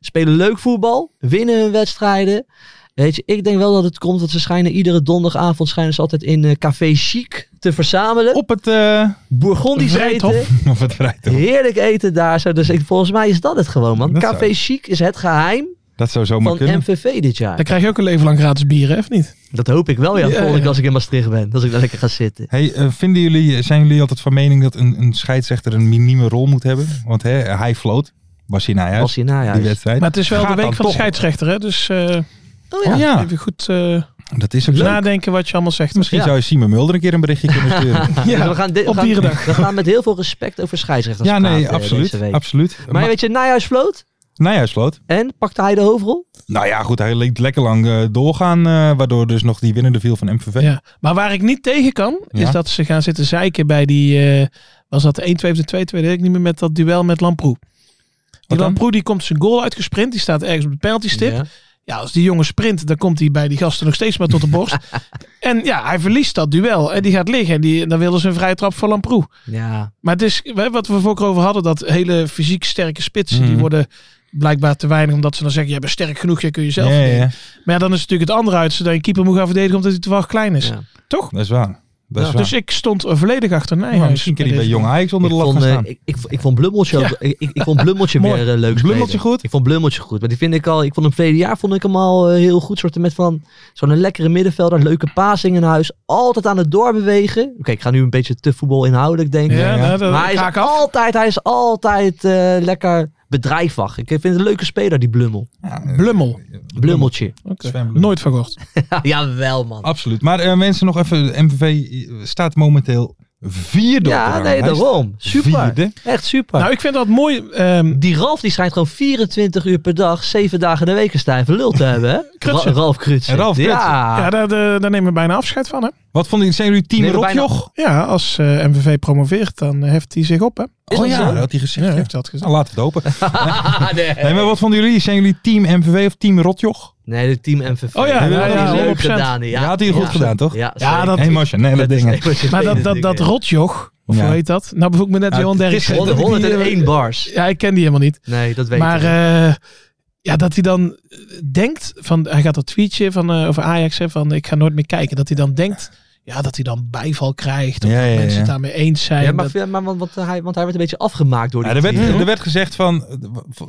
[SPEAKER 6] Spelen leuk voetbal. Winnen hun wedstrijden. Weet je, ik denk wel dat het komt. Want ze schijnen iedere donderdagavond schijnen ze altijd in eh, Café Chic te verzamelen.
[SPEAKER 4] Op het... eh
[SPEAKER 6] Bourgondisch
[SPEAKER 5] Vrijthof.
[SPEAKER 6] eten.
[SPEAKER 4] of het Vrijthof.
[SPEAKER 6] Heerlijk eten daar. Zo. Dus ik, volgens mij is dat het gewoon, man.
[SPEAKER 4] Dat zou-
[SPEAKER 6] Café Chic is het geheim
[SPEAKER 4] Dat zou zomaar
[SPEAKER 6] van
[SPEAKER 4] kunnen.
[SPEAKER 6] MVV dit jaar.
[SPEAKER 5] Dan krijg je ook een leven lang gratis bieren, hè, of niet?
[SPEAKER 6] Dat hoop ik wel, ja.
[SPEAKER 5] Ja,
[SPEAKER 6] volgende keer
[SPEAKER 5] ja.
[SPEAKER 6] als ik in Maastricht ben. Dat ik daar lekker ga zitten.
[SPEAKER 4] Hey, eh, vinden jullie, zijn jullie altijd van mening dat een, een scheidsrechter een minieme rol moet hebben? Want hè, hij floot. Was hij naar huis?
[SPEAKER 6] Als je naar
[SPEAKER 4] die
[SPEAKER 6] huis.
[SPEAKER 4] wedstrijd.
[SPEAKER 5] Maar het is wel
[SPEAKER 4] Gaat
[SPEAKER 5] de
[SPEAKER 4] dan
[SPEAKER 5] week van de
[SPEAKER 4] toch.
[SPEAKER 5] scheidsrechter, hè? Dus eh,
[SPEAKER 6] Oh
[SPEAKER 4] Oh,
[SPEAKER 6] ja.
[SPEAKER 4] ja,
[SPEAKER 5] even goed eh,
[SPEAKER 4] dat is ook zo.
[SPEAKER 5] nadenken wat je allemaal zegt.
[SPEAKER 4] Misschien zou je Simon Mulder een keer een berichtje kunnen sturen.
[SPEAKER 5] Ja,
[SPEAKER 6] Dus we gaan dit- we
[SPEAKER 5] op
[SPEAKER 6] gaan-
[SPEAKER 5] dierendag.
[SPEAKER 6] We gaan met heel veel respect over scheidsrechters
[SPEAKER 4] ja, nee,
[SPEAKER 6] praten, eh,
[SPEAKER 4] absoluut.
[SPEAKER 6] deze week.
[SPEAKER 4] absoluut.
[SPEAKER 6] Maar weet je, Nijhuis floot.
[SPEAKER 4] Nou ja, sloot.
[SPEAKER 6] En pakte hij de hoofdrol?
[SPEAKER 4] Nou ja, goed, hij liet lekker lang eh, doorgaan, eh, waardoor dus nog die winnende viel van MVV.
[SPEAKER 5] Ja. Maar waar ik niet tegen kan, is
[SPEAKER 4] Ja.
[SPEAKER 5] dat ze gaan zitten zeiken bij die... eh, was dat de 1-2 of de 2-2? Weet ik niet meer met dat duel met Lamproe. Die
[SPEAKER 4] Wat dan?
[SPEAKER 5] Lamproe die komt zijn goal uitgesprint. Die staat ergens op de penaltystip.
[SPEAKER 6] Ja.
[SPEAKER 5] Ja, als die jongen sprint, dan komt hij bij die gasten nog steeds maar tot de borst. en ja, hij verliest dat duel. En die gaat liggen. En die, dan wilden ze een vrije trap voor Lamproe.
[SPEAKER 6] ja.
[SPEAKER 5] Maar het is, hè, wat we voorkeur over hadden, dat hele fysiek sterke spitsen,
[SPEAKER 4] Mhm.
[SPEAKER 5] die worden blijkbaar te weinig, omdat ze dan zeggen, jij bent sterk genoeg, jij kun jezelf
[SPEAKER 4] ja, ja,
[SPEAKER 5] verdedigen.
[SPEAKER 4] ja.
[SPEAKER 5] Maar ja, dan is het natuurlijk het andere uit, zodat je keeper moet gaan verdedigen, omdat hij te wel klein is.
[SPEAKER 6] Ja.
[SPEAKER 5] Toch?
[SPEAKER 4] dat is waar. Dat is
[SPEAKER 6] Ja.
[SPEAKER 4] waar.
[SPEAKER 5] Dus ik stond er volledig achter
[SPEAKER 4] Nou,
[SPEAKER 5] Nijhuis.
[SPEAKER 4] misschien kan hij bij
[SPEAKER 5] deze-
[SPEAKER 4] Jong Ajax onder
[SPEAKER 6] Ik
[SPEAKER 4] de lat
[SPEAKER 6] vond,
[SPEAKER 4] gaan
[SPEAKER 6] eh,
[SPEAKER 4] staan.
[SPEAKER 6] ik, ik, ik vond Blummeltje, ook- ik, ik, ik vond Blummeltje
[SPEAKER 5] Mooi.
[SPEAKER 6] weer eh, leuk spelen.
[SPEAKER 4] Blummeltje goed?
[SPEAKER 6] Ik vond Blummeltje goed. Maar die vind ik al, ik vond hem verleden jaar vond ik hem al eh, heel goed. Soorten met van zo'n lekkere middenvelder, leuke passing in huis. Altijd aan het doorbewegen. Oké, ik ga nu een beetje te voetbal inhoudelijk denken.
[SPEAKER 5] Ja,
[SPEAKER 4] Ja, ja.
[SPEAKER 5] nou, dat
[SPEAKER 6] Maar hij
[SPEAKER 5] ga ik
[SPEAKER 6] is
[SPEAKER 5] af.
[SPEAKER 6] altijd, hij is altijd eh, lekker bedrijfwacht. Ik vind het een leuke speler, die Blummel.
[SPEAKER 4] Ja, eh,
[SPEAKER 5] Blummel.
[SPEAKER 6] Blummeltje.
[SPEAKER 5] Oké.
[SPEAKER 4] Sven Blummel.
[SPEAKER 5] Nooit verkocht.
[SPEAKER 6] Jawel, man.
[SPEAKER 4] Absoluut. Maar eh, mensen, nog even, MVV eh, staat momenteel Vierde op de
[SPEAKER 6] Ja, nee,
[SPEAKER 4] ranglijst.
[SPEAKER 6] daarom. Super.
[SPEAKER 4] Vierde.
[SPEAKER 6] Echt super.
[SPEAKER 5] Nou, ik vind dat mooi. ehm,
[SPEAKER 6] die Ralf die schijnt gewoon verdacht 24 uur per dag, 7 dagen in de week een stijve lul te hebben. Hè?
[SPEAKER 5] Krutsen.
[SPEAKER 6] Ra- Ralf Krutsen.
[SPEAKER 4] En Ralf Krutsen.
[SPEAKER 6] Ja.
[SPEAKER 5] ja, daar, daar, daar nemen we bijna afscheid van, hè?
[SPEAKER 4] Wat vonden jullie? Zijn jullie team
[SPEAKER 6] Nee, maar bijna-
[SPEAKER 4] Rotjoch?
[SPEAKER 5] Ja, als eh, MVV promoveert, dan heft hij zich op, hè?
[SPEAKER 6] Is
[SPEAKER 4] Oh
[SPEAKER 6] dat
[SPEAKER 4] ja,
[SPEAKER 6] zo?
[SPEAKER 4] dat had hij gezegd.
[SPEAKER 5] Ja,
[SPEAKER 4] ja.
[SPEAKER 5] heeft dat gezegd.
[SPEAKER 4] Nou, laat het open.
[SPEAKER 6] Ah, nee.
[SPEAKER 4] Nee, maar wat vonden jullie? Zijn jullie team MVV of team Rotjoch?
[SPEAKER 6] Nee, de team MVV.
[SPEAKER 5] Oh ja,
[SPEAKER 6] Dat
[SPEAKER 5] ja,
[SPEAKER 6] had
[SPEAKER 5] ja,
[SPEAKER 6] hij leuk
[SPEAKER 5] 100%.
[SPEAKER 6] gedaan. Ja,
[SPEAKER 4] Ja, had hij goed gedaan, toch?
[SPEAKER 6] Ja,
[SPEAKER 5] Ja,
[SPEAKER 6] zeker.
[SPEAKER 5] dat-
[SPEAKER 4] Emotionele
[SPEAKER 6] is
[SPEAKER 4] dingen.
[SPEAKER 6] emotionele
[SPEAKER 5] Maar dat, dat,
[SPEAKER 6] dingen,
[SPEAKER 5] dat
[SPEAKER 6] ja.
[SPEAKER 5] rotjoch, of
[SPEAKER 4] Ja.
[SPEAKER 5] hoe heet dat? Nou bevoel ik me net
[SPEAKER 4] Nou,
[SPEAKER 5] Johan
[SPEAKER 4] het is-
[SPEAKER 5] Derksen.
[SPEAKER 4] dat
[SPEAKER 6] 100
[SPEAKER 5] die, eh,
[SPEAKER 6] 101 bars.
[SPEAKER 5] Ja, ik ken die helemaal niet.
[SPEAKER 6] Nee, dat weet ik
[SPEAKER 5] Maar
[SPEAKER 6] niet.
[SPEAKER 5] eh, ja, dat hij dan eh, denkt, van, hij gaat dat tweetje van, eh, over Ajax, hè, van ik ga nooit meer kijken. Dat hij dan denkt, ja, dat hij dan bijval krijgt. Of
[SPEAKER 4] Ja, ja,
[SPEAKER 5] dat
[SPEAKER 4] ja,
[SPEAKER 5] mensen het
[SPEAKER 4] ja.
[SPEAKER 5] daarmee eens zijn.
[SPEAKER 6] Ja, maar,
[SPEAKER 5] dat-
[SPEAKER 6] ja, maar want, want hij, want hij werd een beetje afgemaakt door die
[SPEAKER 4] Ja, er, werd,
[SPEAKER 6] team.
[SPEAKER 4] er werd gezegd van... eh, v-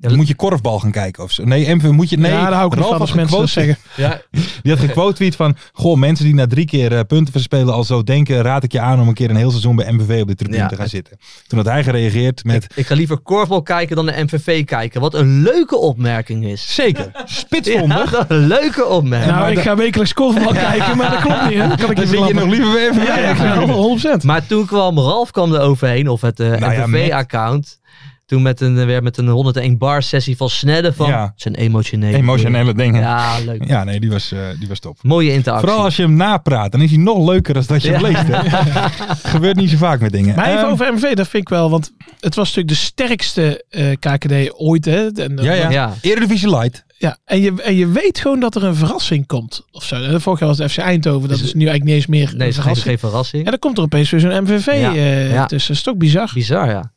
[SPEAKER 6] Ja,
[SPEAKER 4] moet je korfbal gaan kijken of zo? Nee, MV moet je... Nee,
[SPEAKER 5] ja, daar hou ik niet
[SPEAKER 4] Ralf
[SPEAKER 5] van
[SPEAKER 4] had
[SPEAKER 5] als mensen dat
[SPEAKER 4] gequote-
[SPEAKER 5] zeggen.
[SPEAKER 6] Ja,
[SPEAKER 4] Die had gequote tweet van... Goh, mensen die na drie keer eh, punten verspelen al zo denken... raad ik je aan om een keer een heel seizoen bij MVV op de tribune
[SPEAKER 6] Ja,
[SPEAKER 4] te gaan
[SPEAKER 6] het-
[SPEAKER 4] zitten. Toen had hij gereageerd met...
[SPEAKER 6] ik ga liever korfbal kijken dan de MVV kijken. Wat een leuke opmerking is.
[SPEAKER 4] Zeker, spitsvondig.
[SPEAKER 6] Ja, dat een leuke opmerking.
[SPEAKER 5] nou,
[SPEAKER 4] maar
[SPEAKER 5] ik
[SPEAKER 4] dat-
[SPEAKER 5] ga wekelijks korfbal kijken, maar dat klopt niet. Hè? Dat kan ik
[SPEAKER 4] Dan
[SPEAKER 5] niet
[SPEAKER 4] zit je nog
[SPEAKER 5] verklappen.
[SPEAKER 4] liever bij MVV.
[SPEAKER 5] Ja, ja, 100%.
[SPEAKER 6] Maar toen kwam Ralf kwam er overheen, of het eh,
[SPEAKER 4] Nou ja, met-
[SPEAKER 6] MVV-account. Toen met een, eh, weer met een 101 bar sessie van Snedden van
[SPEAKER 4] Ja.
[SPEAKER 6] zijn emotionele.
[SPEAKER 4] Emotionele dingen. Ja,
[SPEAKER 6] Ja, leuk.
[SPEAKER 4] nee, die was, eh, die was top.
[SPEAKER 6] Mooie interactie.
[SPEAKER 4] Vooral als je hem napraat, dan is hij nog leuker dan dat je hem leest. Hè? Gebeurt niet zo vaak met dingen.
[SPEAKER 5] Maar even
[SPEAKER 4] Ehm,
[SPEAKER 5] over MV, dat vind ik wel. Want het was natuurlijk de sterkste eh, KKD ooit. Hè? En, eh,
[SPEAKER 4] ja, ja.
[SPEAKER 6] Ja.
[SPEAKER 4] Eredivisie Light.
[SPEAKER 5] ja. En, je, en je weet gewoon dat er een verrassing komt. Of zo. Eh, Vorig jaar was het FC Eindhoven. Dat is, nu eigenlijk niet eens meer
[SPEAKER 6] Nee,
[SPEAKER 5] een
[SPEAKER 6] ze geven
[SPEAKER 5] verrassing.
[SPEAKER 6] geen verrassing.
[SPEAKER 5] En dan komt er opeens weer zo'n MVV
[SPEAKER 6] Ja,
[SPEAKER 5] eh,
[SPEAKER 6] ja.
[SPEAKER 5] tussen. Dat is toch bizar.
[SPEAKER 6] Bizar, ja.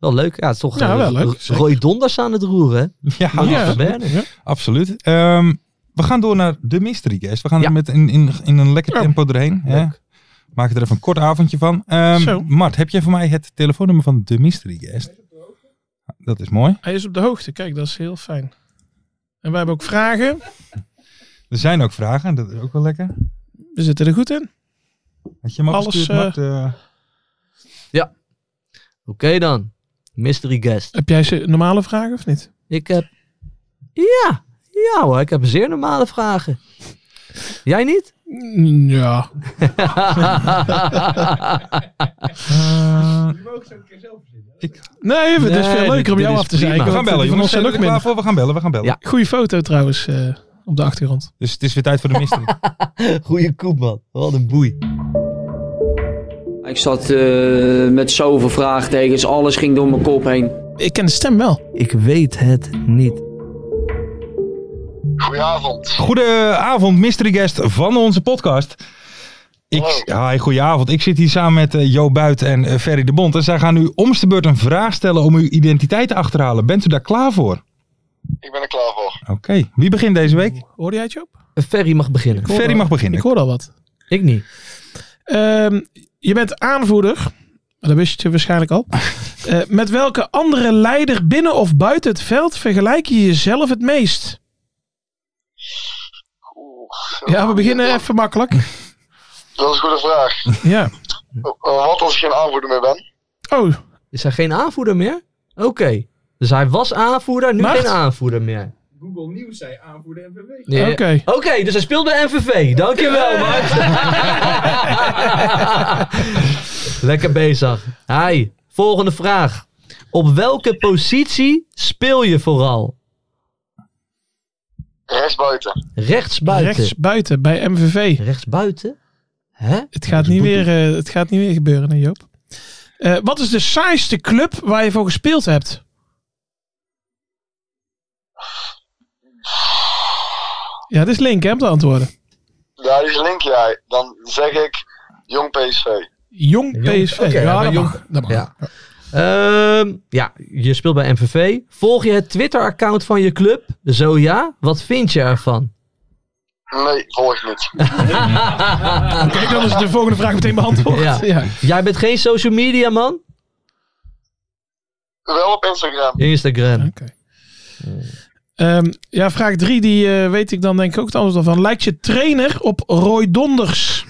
[SPEAKER 6] Wel leuk. Ja, het is toch
[SPEAKER 5] Ja,
[SPEAKER 6] eh,
[SPEAKER 5] wel leuk,
[SPEAKER 6] Ro-
[SPEAKER 5] zeker.
[SPEAKER 6] Roy Donders aan het roeren.
[SPEAKER 4] Ja,
[SPEAKER 6] Ja.
[SPEAKER 4] absolu-
[SPEAKER 5] Ja.
[SPEAKER 4] absoluut. Ehm, we gaan door naar de mystery guest. We gaan
[SPEAKER 6] Ja.
[SPEAKER 4] er met in, in, in een lekker
[SPEAKER 5] Ja.
[SPEAKER 4] tempo doorheen. Hè?
[SPEAKER 6] Leuk.
[SPEAKER 4] Maak er even een kort avondje van. Ehm,
[SPEAKER 5] Zo.
[SPEAKER 4] Mart, heb jij voor mij het telefoonnummer van de mystery guest? Dat is mooi.
[SPEAKER 5] Hij is op de hoogte. Kijk, dat is heel fijn. En wij hebben ook vragen.
[SPEAKER 4] Er zijn ook vragen, dat is ook wel lekker.
[SPEAKER 5] We zitten er goed in.
[SPEAKER 4] Had je hem
[SPEAKER 5] Alles,
[SPEAKER 4] Alles,
[SPEAKER 5] eh,
[SPEAKER 4] Mart, Eh,
[SPEAKER 6] Oké dan. Mystery guest.
[SPEAKER 5] Heb jij ze normale vragen of niet?
[SPEAKER 6] Ik heb... Ja. Ja hoor, ik heb zeer normale vragen. Jij niet?
[SPEAKER 5] Mm, Ja.
[SPEAKER 4] eh, ik,
[SPEAKER 5] Nee, dat is
[SPEAKER 6] Nee,
[SPEAKER 5] veel leuker om
[SPEAKER 6] dit
[SPEAKER 5] jou
[SPEAKER 6] is
[SPEAKER 5] af te
[SPEAKER 6] prima.
[SPEAKER 5] zeiken.
[SPEAKER 4] we gaan bellen,
[SPEAKER 5] want die van
[SPEAKER 4] jongens.
[SPEAKER 5] ons
[SPEAKER 4] Zijn
[SPEAKER 5] zijn
[SPEAKER 4] jullie
[SPEAKER 5] ook
[SPEAKER 4] er klaar
[SPEAKER 5] minder.
[SPEAKER 4] voor? We gaan bellen, we gaan bellen.
[SPEAKER 6] Ja.
[SPEAKER 5] Goeie foto trouwens eh, op de achtergrond.
[SPEAKER 4] Dus het is weer tijd voor de mystery.
[SPEAKER 6] Goeie koep man. Wat een boei.
[SPEAKER 7] Ik zat eh, met zoveel vraagtekens, alles ging door mijn kop heen.
[SPEAKER 5] Ik ken de stem wel.
[SPEAKER 6] Ik weet het niet.
[SPEAKER 8] Goedenavond.
[SPEAKER 4] Goedenavond, mystery guest van onze podcast. Ik, hi, goedenavond. Ik zit hier samen met eh, Jo Buit en eh, Ferry de Bond. En zij gaan u om de beurt een vraag stellen om uw identiteit te achterhalen. Bent u daar klaar voor?
[SPEAKER 8] Ik ben er klaar voor.
[SPEAKER 4] Oké. Wie begint deze week?
[SPEAKER 5] Hoorde jij het, Joop?
[SPEAKER 6] Ferry mag beginnen.
[SPEAKER 5] hoor
[SPEAKER 4] Ferry
[SPEAKER 5] wel.
[SPEAKER 4] mag
[SPEAKER 5] Ik
[SPEAKER 4] beginnen.
[SPEAKER 5] hoorde al wat.
[SPEAKER 6] Ik niet.
[SPEAKER 5] Ehm, je bent aanvoerder. Maar Dat wist je waarschijnlijk al. Eh, met welke andere leider binnen of buiten het veld vergelijk je jezelf het meest?
[SPEAKER 8] Oeh,
[SPEAKER 5] Ja, we beginnen even makkelijk.
[SPEAKER 8] Dat is een goede vraag.
[SPEAKER 5] Ja.
[SPEAKER 8] Eh, wat als ik geen aanvoerder meer ben?
[SPEAKER 5] Oh,
[SPEAKER 6] Is hij geen aanvoerder meer? Oké. Dus hij was aanvoerder, nu
[SPEAKER 5] Macht.
[SPEAKER 6] geen aanvoerder meer. Google News zei aanvoerder
[SPEAKER 5] oké.
[SPEAKER 6] MVV. Oké, dus hij speelt bij MVV. Dankjewel, Mart. Lekker bezig. Hi, volgende vraag. Op welke positie speel je vooral?
[SPEAKER 8] Rechtsbuiten.
[SPEAKER 6] Rechtsbuiten.
[SPEAKER 5] Rechts buiten bij MVV.
[SPEAKER 6] Rechtsbuiten? Hè?
[SPEAKER 5] Het gaat, niet weer, eh, het gaat niet weer gebeuren, hè, Joop? Eh, wat is de saaiste club waar je voor gespeeld hebt? Ja, dit is link, hè, om te antwoorden.
[SPEAKER 8] Daar is link jij. Dan zeg ik jong PSV.
[SPEAKER 5] Jong
[SPEAKER 6] Jong-
[SPEAKER 5] PSV.
[SPEAKER 6] Oké, ja,
[SPEAKER 5] ja,
[SPEAKER 6] bij
[SPEAKER 5] dat
[SPEAKER 6] Jong-
[SPEAKER 5] mag. Dat mag.
[SPEAKER 6] Ja. Ehm, ja, je speelt bij MVV. Volg je het Twitter-account van je club? Zo ja, wat vind je ervan?
[SPEAKER 8] Nee, volg ik niet.
[SPEAKER 5] Kijk, dan is de volgende vraag meteen beantwoord.
[SPEAKER 6] Ja.
[SPEAKER 5] Ja.
[SPEAKER 6] Jij bent geen social media man?
[SPEAKER 8] Wel op Instagram.
[SPEAKER 6] Instagram.
[SPEAKER 5] Oké. Ehm, ja, vraag 3, die eh, weet ik dan denk ik ook het antwoord al van. Lijkt je trainer op Roy Donders?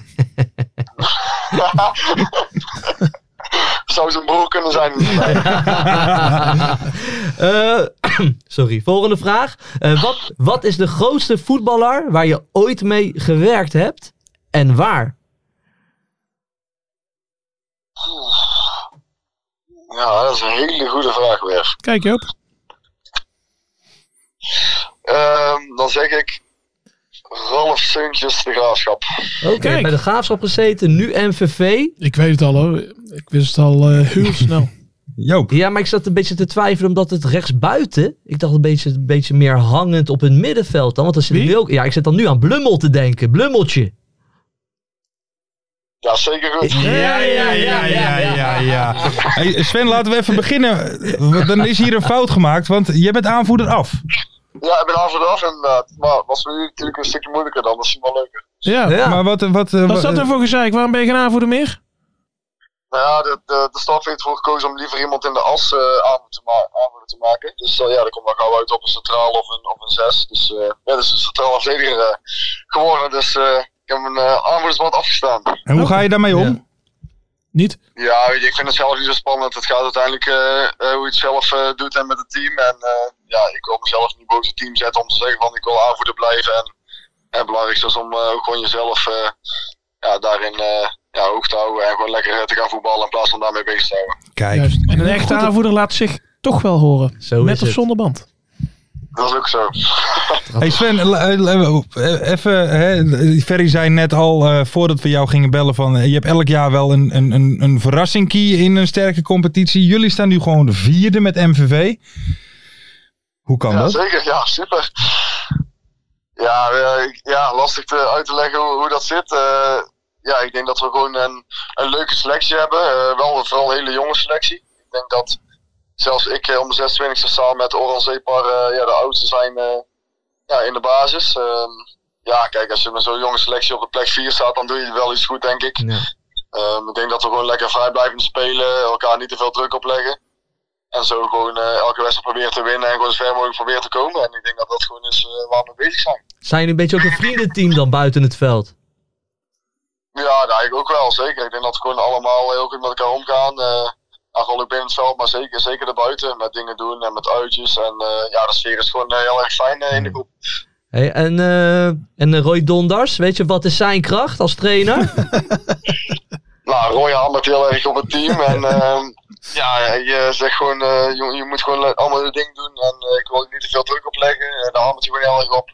[SPEAKER 8] Zou zijn broer kunnen zijn. Nee.
[SPEAKER 6] Eh, sorry, volgende vraag. Eh, wat, wat is de grootste voetballer waar je ooit mee gewerkt hebt en waar?
[SPEAKER 8] Oeh. Ja, dat is een hele goede vraag weer.
[SPEAKER 5] Kijk Joop.
[SPEAKER 8] Ehm, dan zeg ik Ralf Seuntjes de Graafschap.
[SPEAKER 6] Oké,
[SPEAKER 5] Kijk.
[SPEAKER 6] bij de graafschap gezeten, nu MVV.
[SPEAKER 5] Ik weet het al hoor. Ik wist het al eh, heel snel.
[SPEAKER 4] Joop.
[SPEAKER 6] Ja, maar ik zat een beetje te twijfelen omdat het rechtsbuiten. Ik dacht een beetje, een beetje meer hangend op het middenveld dan. Want als
[SPEAKER 5] Wie?
[SPEAKER 6] je wil, ja, ik zit dan nu aan Blummel te denken. Blummeltje.
[SPEAKER 8] Ja, zeker goed.
[SPEAKER 6] Ja, ja, ja, ja,
[SPEAKER 4] ja, ja. Hey, Sven, laten we even beginnen. Want Dan is hier een fout gemaakt, want jij bent aanvoerder af.
[SPEAKER 8] Ja, ik ben aan voor de af inderdaad. eh, Maar was nu natuurlijk een stukje moeilijker dan, dat is wel leuker.
[SPEAKER 5] Ja.
[SPEAKER 6] Ja.
[SPEAKER 4] Maar wat... wat, eh,
[SPEAKER 5] Wat
[SPEAKER 4] wa-
[SPEAKER 5] is dat nou voor gezeik? Waarom ben je geen aanvoerder meer?
[SPEAKER 8] Nou ja, de, de, de staf heeft ervoor gekozen om liever iemand in de as eh aan te, ma- aanvoerder te maken. Dus eh, ja, dat komt dan gauw uit op een centraal of een, op een zes. Dus eh ja, dat is een centraal verdediger eh, geworden. Dus eh, ik heb mijn eh aanvoerdersband afgestaan.
[SPEAKER 4] En hoe ga je daarmee om?
[SPEAKER 5] Niet.
[SPEAKER 8] Ja, weet je, ik vind het zelf niet zo spannend. Het gaat uiteindelijk eh, eh, hoe je het zelf eh, doet en met het team. En eh, ja, ik wil mezelf niet boven het team zetten om te zeggen van ik wil aanvoerder blijven. En en het belangrijkste is om eh, ook gewoon jezelf eh, ja, daarin eh, ja, hoog te houden. En gewoon lekker eh, te gaan voetballen in plaats van daarmee bezig te houden.
[SPEAKER 4] Kijk.
[SPEAKER 5] Juist. En een echte aanvoerder laat zich toch wel horen.
[SPEAKER 6] Zo
[SPEAKER 5] Met
[SPEAKER 6] is
[SPEAKER 5] of
[SPEAKER 6] het.
[SPEAKER 5] zonder band.
[SPEAKER 8] Dat is ook zo.
[SPEAKER 4] Hey Sven, la- la- eh, even, hè, Ferry zei net al eh, voordat we jou gingen bellen van eh, je hebt elk jaar wel een, een, een, een verrassing key in een sterke competitie. Jullie staan nu gewoon de vierde met MVV. Hoe kan
[SPEAKER 8] Ja,
[SPEAKER 4] dat?
[SPEAKER 8] zeker. Ja, super. Ja, eh, ik- ja lastig te uit te leggen hoe, hoe dat zit. Eh, ja, ik denk dat we gewoon een, een leuke selectie hebben. Eh, wel vooral een hele jonge selectie. Ik denk dat zelfs ik eh, om de 26e samen met Oran Zepar eh, ja, de oudste zijn eh, ja, in de basis. Ehm, ja, kijk, als je met zo'n jonge selectie op de plek 4 staat, dan doe je wel iets goed, denk ik.
[SPEAKER 6] Ja.
[SPEAKER 8] Ehm, ik denk dat we gewoon lekker vrij blijven spelen, elkaar niet te veel druk opleggen. En zo gewoon eh, elke wedstrijd proberen te winnen en gewoon zo ver mogelijk proberen te komen. En ik denk dat dat gewoon is eh, waar we mee bezig zijn.
[SPEAKER 6] Zijn jullie een beetje ook een vriendenteam dan buiten het veld?
[SPEAKER 8] Ja, daar ik ook wel, zeker. Ik denk dat we gewoon allemaal heel goed met elkaar omgaan. eh nou, gewoon ook binnen het veld, maar zeker, zeker erbuiten. Met dingen doen en met uitjes. En eh, ja, de sfeer is gewoon eh, heel erg fijn eh, in de groep.
[SPEAKER 6] Hey, en, eh, en eh, Roy Donders, weet je wat is zijn kracht als trainer?
[SPEAKER 8] Nou, Roy hamert heel erg op het team. En ehm, ja, je zegt gewoon, eh, je, je moet gewoon allemaal je ding doen. En eh, ik wil er niet te veel druk op leggen. En daar hamert je gewoon heel erg op.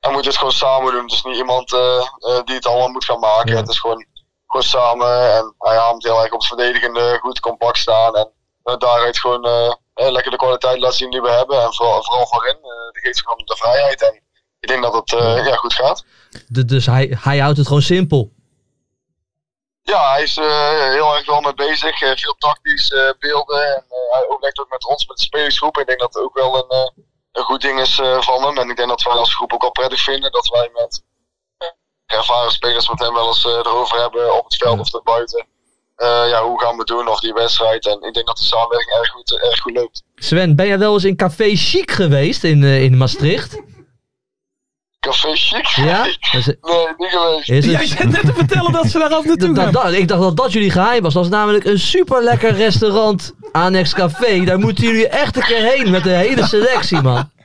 [SPEAKER 8] En moet je het gewoon samen doen. Het is niet iemand eh, eh, die het allemaal moet gaan maken.
[SPEAKER 6] Ja.
[SPEAKER 8] Het is gewoon, gewoon samen. En hij hamert heel erg op het verdedigende, goed compact staan. En eh, daaruit gewoon eh, eh, lekker de kwaliteit laten zien die we hebben. En vooral, vooral voorin. eh die geeft gewoon de vrijheid. En ik denk dat het eh, ja, goed gaat.
[SPEAKER 6] De- dus hij, hij houdt het gewoon simpel.
[SPEAKER 8] Ja, hij is eh, heel erg wel mee bezig. Eh, veel tactisch eh, beelden. En eh, hij overlegt ook met ons, met de spelersgroep. Ik denk dat het ook wel een, eh, een goed ding is eh, van hem. En ik denk dat wij als groep ook wel prettig vinden dat wij met eh, ervaren spelers met hem wel eens eh, erover hebben op het veld of erbuiten. Eh, ja, hoe gaan we doen of die wedstrijd. En ik denk dat de samenwerking erg goed, eh, erg goed loopt.
[SPEAKER 6] Sven, ben jij wel eens in Café Chic geweest in, eh, in Maastricht?
[SPEAKER 8] Café Chic?
[SPEAKER 6] Ja? Dat is-
[SPEAKER 8] Nee, niet geweest.
[SPEAKER 6] is het-
[SPEAKER 5] Jij zit net te vertellen dat ze daar af naartoe
[SPEAKER 6] Dat-
[SPEAKER 5] gaan.
[SPEAKER 6] dat- ik dacht dat dat jullie geheim was. Dat is namelijk een super lekker restaurant, Annex Café. Daar moeten jullie echt een keer heen met de hele selectie, man.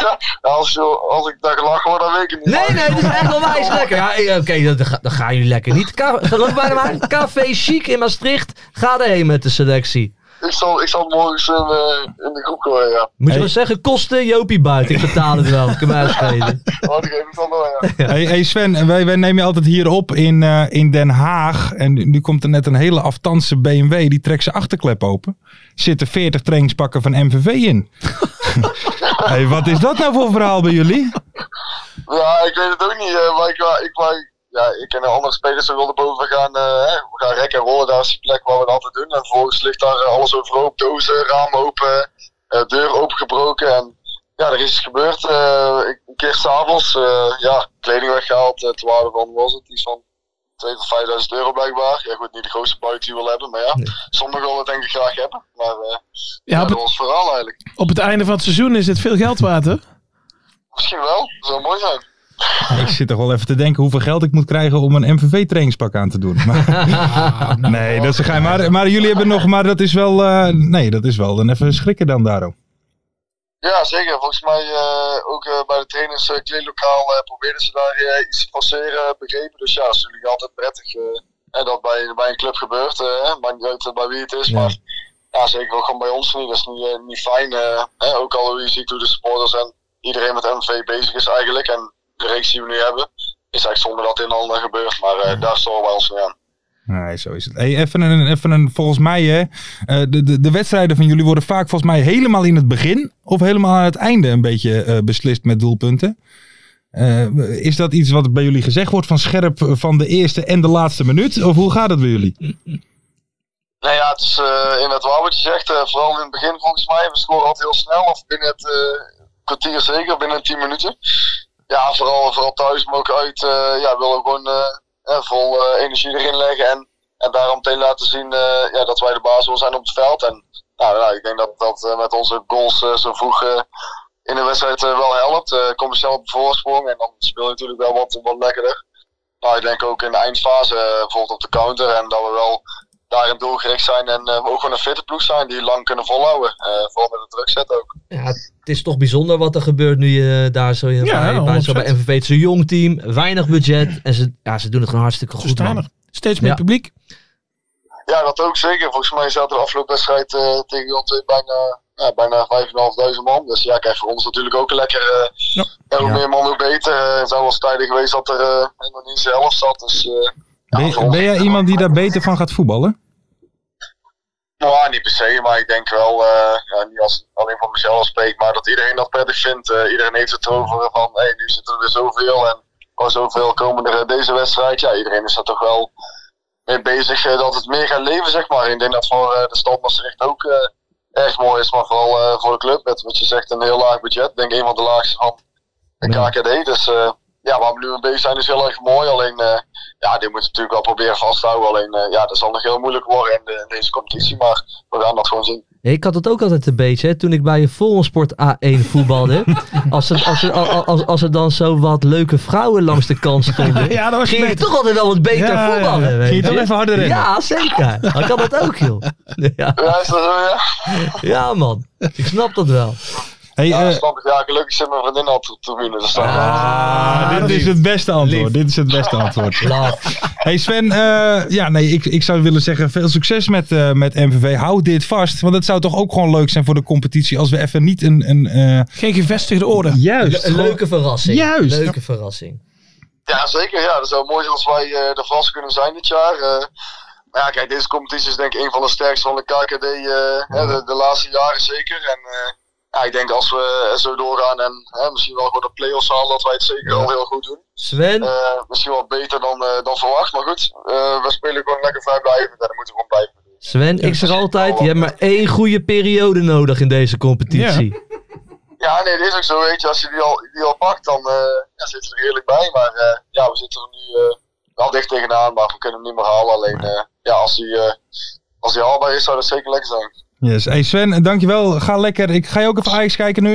[SPEAKER 8] Ja, als, je, als ik daar gelachen word, dan weet ik het niet.
[SPEAKER 6] Nee,
[SPEAKER 8] Maar-
[SPEAKER 6] nee, het is echt onwijs lekker. Ja, eh, Oké, dan, dan ga- dan gaan jullie lekker niet. Ka- Geloof mij maar, Café Chic in Maastricht. Ga erheen met de selectie.
[SPEAKER 8] Ik zal, ik zal morgens in, eh, in de groep gooien, ja.
[SPEAKER 6] Moet je
[SPEAKER 4] Hey.
[SPEAKER 6] wel zeggen, kosten Jopie buiten. Ik betaal het wel. Ik kan mij uitschelen.
[SPEAKER 8] Maar die geef ik dan wel, ja.
[SPEAKER 4] Hey, hey Sven, eh, wij, wij nemen je altijd hier op in, eh, in Den Haag. En nu nu komt er net een hele aftandse BMW, die trekt zijn achterklep open. Zitten 40 trainingspakken van MVV in. hey, wat is dat nou voor verhaal bij jullie?
[SPEAKER 8] Ja, ik weet het ook niet. eh, maar ik, wou- ik, wou- ja, ik ken andere spelers die wilden boven gaan. eh, hè, we gaan rekken en rollen, daar is die plek waar we het altijd doen. En vervolgens ligt daar eh, alles overhoop. Dozen, ramen open, eh, deur opengebroken. En ja, er is iets gebeurd. eh, ik- een keer s'avonds, eh ja, kleding weggehaald. eh, ter waarde van, was het, iets van 2.000 tot 5.000 euro blijkbaar. Ja goed, niet de grootste buit die we willen hebben. Maar ja, sommigen willen het denk ik graag hebben. Maar eh, ja,
[SPEAKER 5] Ja, op
[SPEAKER 8] dat
[SPEAKER 5] het,
[SPEAKER 8] was het verhaal eigenlijk.
[SPEAKER 5] op het einde van het seizoen is dit veel geld waard, hè?
[SPEAKER 8] Misschien wel, dat zou mooi zijn.
[SPEAKER 4] Ik zit toch wel even te denken hoeveel geld ik moet krijgen om een MVV-trainingspak aan te doen. Maar, nee, dat is een geheim. Maar, maar jullie hebben nog, maar dat is wel, eh, nee, dat is wel dan even schrikken dan daarom.
[SPEAKER 8] Ja, zeker. Volgens mij eh, ook eh, bij de trainers eh, kleedlokaal eh, probeerden ze daar eh, iets te forceren, begrepen. Dus ja, dat is natuurlijk altijd prettig. eh. hè, dat bij, bij een club gebeurt. eh, maakt niet uit bij wie het is. Maar ja, zeker ook gewoon bij ons niet. Dat is niet, eh, niet fijn. eh, hè, ook al je ziet hoe de supporters en iedereen met MV bezig is eigenlijk. En de reeks die we nu hebben, is echt zonder dat in handen gebeurt. Maar eh, daar storen wij ons niet aan.
[SPEAKER 4] Nee, zo is het. Hey, even, een, even een, volgens mij, hè, eh, de, de, de wedstrijden van jullie worden vaak volgens mij helemaal in het begin of helemaal aan het einde een beetje eh, beslist met doelpunten. Eh, is dat iets wat bij jullie gezegd wordt van scherp eh, van de eerste en de laatste minuut? Of hoe gaat het bij jullie?
[SPEAKER 8] Nou ja, het is eh, inderdaad waar wat je zegt. eh, vooral in het begin volgens mij. We scoren altijd heel snel. Of binnen het eh, kwartier zeker, binnen 10 minuten. Ja, vooral, vooral thuis, maar ook uit. eh ja, willen we gewoon eh, eh, vol eh, energie erin leggen. En, en daarom meteen laten zien eh, ja, dat wij de baas willen zijn op het veld. En nou, ja, ik denk dat dat eh, met onze goals eh, zo vroeg eh, in de wedstrijd eh, wel helpt. Eh kom je snel op de voorsprong en dan speel je natuurlijk wel wat, wat lekkerder. Maar ik denk ook in de eindfase, eh, bijvoorbeeld op de counter, en dat we wel daarin doelgericht zijn en eh, we ook gewoon een fitte ploeg zijn die lang kunnen volhouden. Eh, vooral met de druk zetten ook.
[SPEAKER 6] Ja, het is toch bijzonder wat er gebeurt nu je daar zo, in
[SPEAKER 5] Ja,
[SPEAKER 6] bij, bij, zo bij
[SPEAKER 5] 100%.
[SPEAKER 6] MVV. Het is een jong team, weinig budget. En ze, ja, ze doen het gewoon hartstikke
[SPEAKER 5] Ze
[SPEAKER 6] goed.
[SPEAKER 5] staan
[SPEAKER 6] man.
[SPEAKER 5] er. Steeds meer
[SPEAKER 6] Ja.
[SPEAKER 5] publiek.
[SPEAKER 8] Ja, dat ook zeker. Volgens mij zat er afgelopen wedstrijd eh, tegen Jon 2 bijna, ja, bijna 5.500 man. Dus ja, kijk, voor ons natuurlijk ook lekker. eh, En hoe
[SPEAKER 4] Ja.
[SPEAKER 8] meer man, hoe beter. Eh, het zijn wel eens tijden geweest dat er eh, nog niet zelf zat. Dus, eh,
[SPEAKER 4] Ben,
[SPEAKER 8] ja, voor
[SPEAKER 4] je-
[SPEAKER 8] ons-
[SPEAKER 4] ben jij iemand die daar beter van gaat voetballen?
[SPEAKER 8] Nou, niet per se, maar ik denk wel, eh, ja, niet als alleen van mezelf spreek, maar dat iedereen dat prettig vindt. Eh, iedereen heeft het erover van, hé, nu zitten er weer zoveel en oh, zoveel komen er eh, deze wedstrijd. Ja, iedereen is daar toch wel mee bezig eh, dat het meer gaat leven, zeg maar. Ik denk dat voor eh, de stad Maastricht ook eh, erg mooi is, maar vooral eh, voor de club met wat je zegt een heel laag budget. Ik denk een van de laagste van de
[SPEAKER 4] Ja.
[SPEAKER 8] KKD, dus... eh, ja, waar we nu mee bezig zijn is heel erg mooi. Alleen, eh, ja, dit moet je natuurlijk wel proberen vast te houden. Alleen, eh, ja, dat zal nog heel moeilijk worden in, de- in deze competitie. Maar we gaan dat gewoon zien.
[SPEAKER 6] Ja, Ik had het ook altijd een beetje, hè, toen ik bij een Sport A1 voetbalde. als, er, als, er, als, als, als er dan zo wat leuke vrouwen langs de kant stonden,
[SPEAKER 5] Ja, dat was
[SPEAKER 6] ging ik
[SPEAKER 5] beter.
[SPEAKER 6] toch altijd wel wat beter
[SPEAKER 5] Ja, ja,
[SPEAKER 6] voetballen.
[SPEAKER 5] ja.
[SPEAKER 6] weet
[SPEAKER 4] Ging je toch
[SPEAKER 6] je.
[SPEAKER 4] even harder rennen?
[SPEAKER 6] Ja, zeker. Ik had dat ook, joh. Ja,
[SPEAKER 8] Ja, is dat zo, ja?
[SPEAKER 6] ja, man. Ik snap dat wel.
[SPEAKER 4] Hey,
[SPEAKER 8] Ja,
[SPEAKER 4] eh,
[SPEAKER 8] snap ik. Ja, gelukkig zit mijn vriendin al op de tribune. Dus dat
[SPEAKER 4] ah, dit is het beste antwoord. Dit is het beste antwoord.
[SPEAKER 6] Love.
[SPEAKER 4] Hey Sven, eh, ja, nee, ik, ik zou willen zeggen veel succes met, eh, met MVV. Houd dit vast, want het zou toch ook gewoon leuk zijn voor de competitie als we even niet een... een eh,
[SPEAKER 5] Geen gevestigde orde.
[SPEAKER 4] juist.
[SPEAKER 6] Le- leuke verrassing.
[SPEAKER 4] Juist.
[SPEAKER 6] Leuke verrassing.
[SPEAKER 8] Ja, zeker. Ja, dat zou mooi zijn als wij eh er vast kunnen zijn dit jaar. Eh, maar ja, kijk, deze competitie is denk ik een van de sterkste van de KKD eh, hè, de, de laatste jaren zeker. En eh, ja, ik denk als we zo doorgaan en hè, misschien wel gewoon de play-offs halen, dat wij het zeker al heel goed doen.
[SPEAKER 6] Sven,
[SPEAKER 8] Eh, misschien wel beter dan, eh, dan verwacht, maar goed. eh, we spelen gewoon lekker vrijblijvend en dat moeten we gewoon blijven. doen.
[SPEAKER 6] Sven, ik zeg altijd, je hebt maar één goede periode nodig in deze competitie.
[SPEAKER 8] Ja, nee, dat is ook zo. Weet je, als je die al, die al pakt, dan eh, ja, zit je er eerlijk bij. Maar eh, ja, we zitten er nu eh, wel dicht tegenaan, maar we kunnen hem niet meer halen. Alleen eh, ja, als hij eh, als die haalbaar is, zou dat zeker lekker zijn.
[SPEAKER 4] Yes. Hey Sven, dankjewel. Ga lekker. Ik ga je ook even Ajax kijken nu.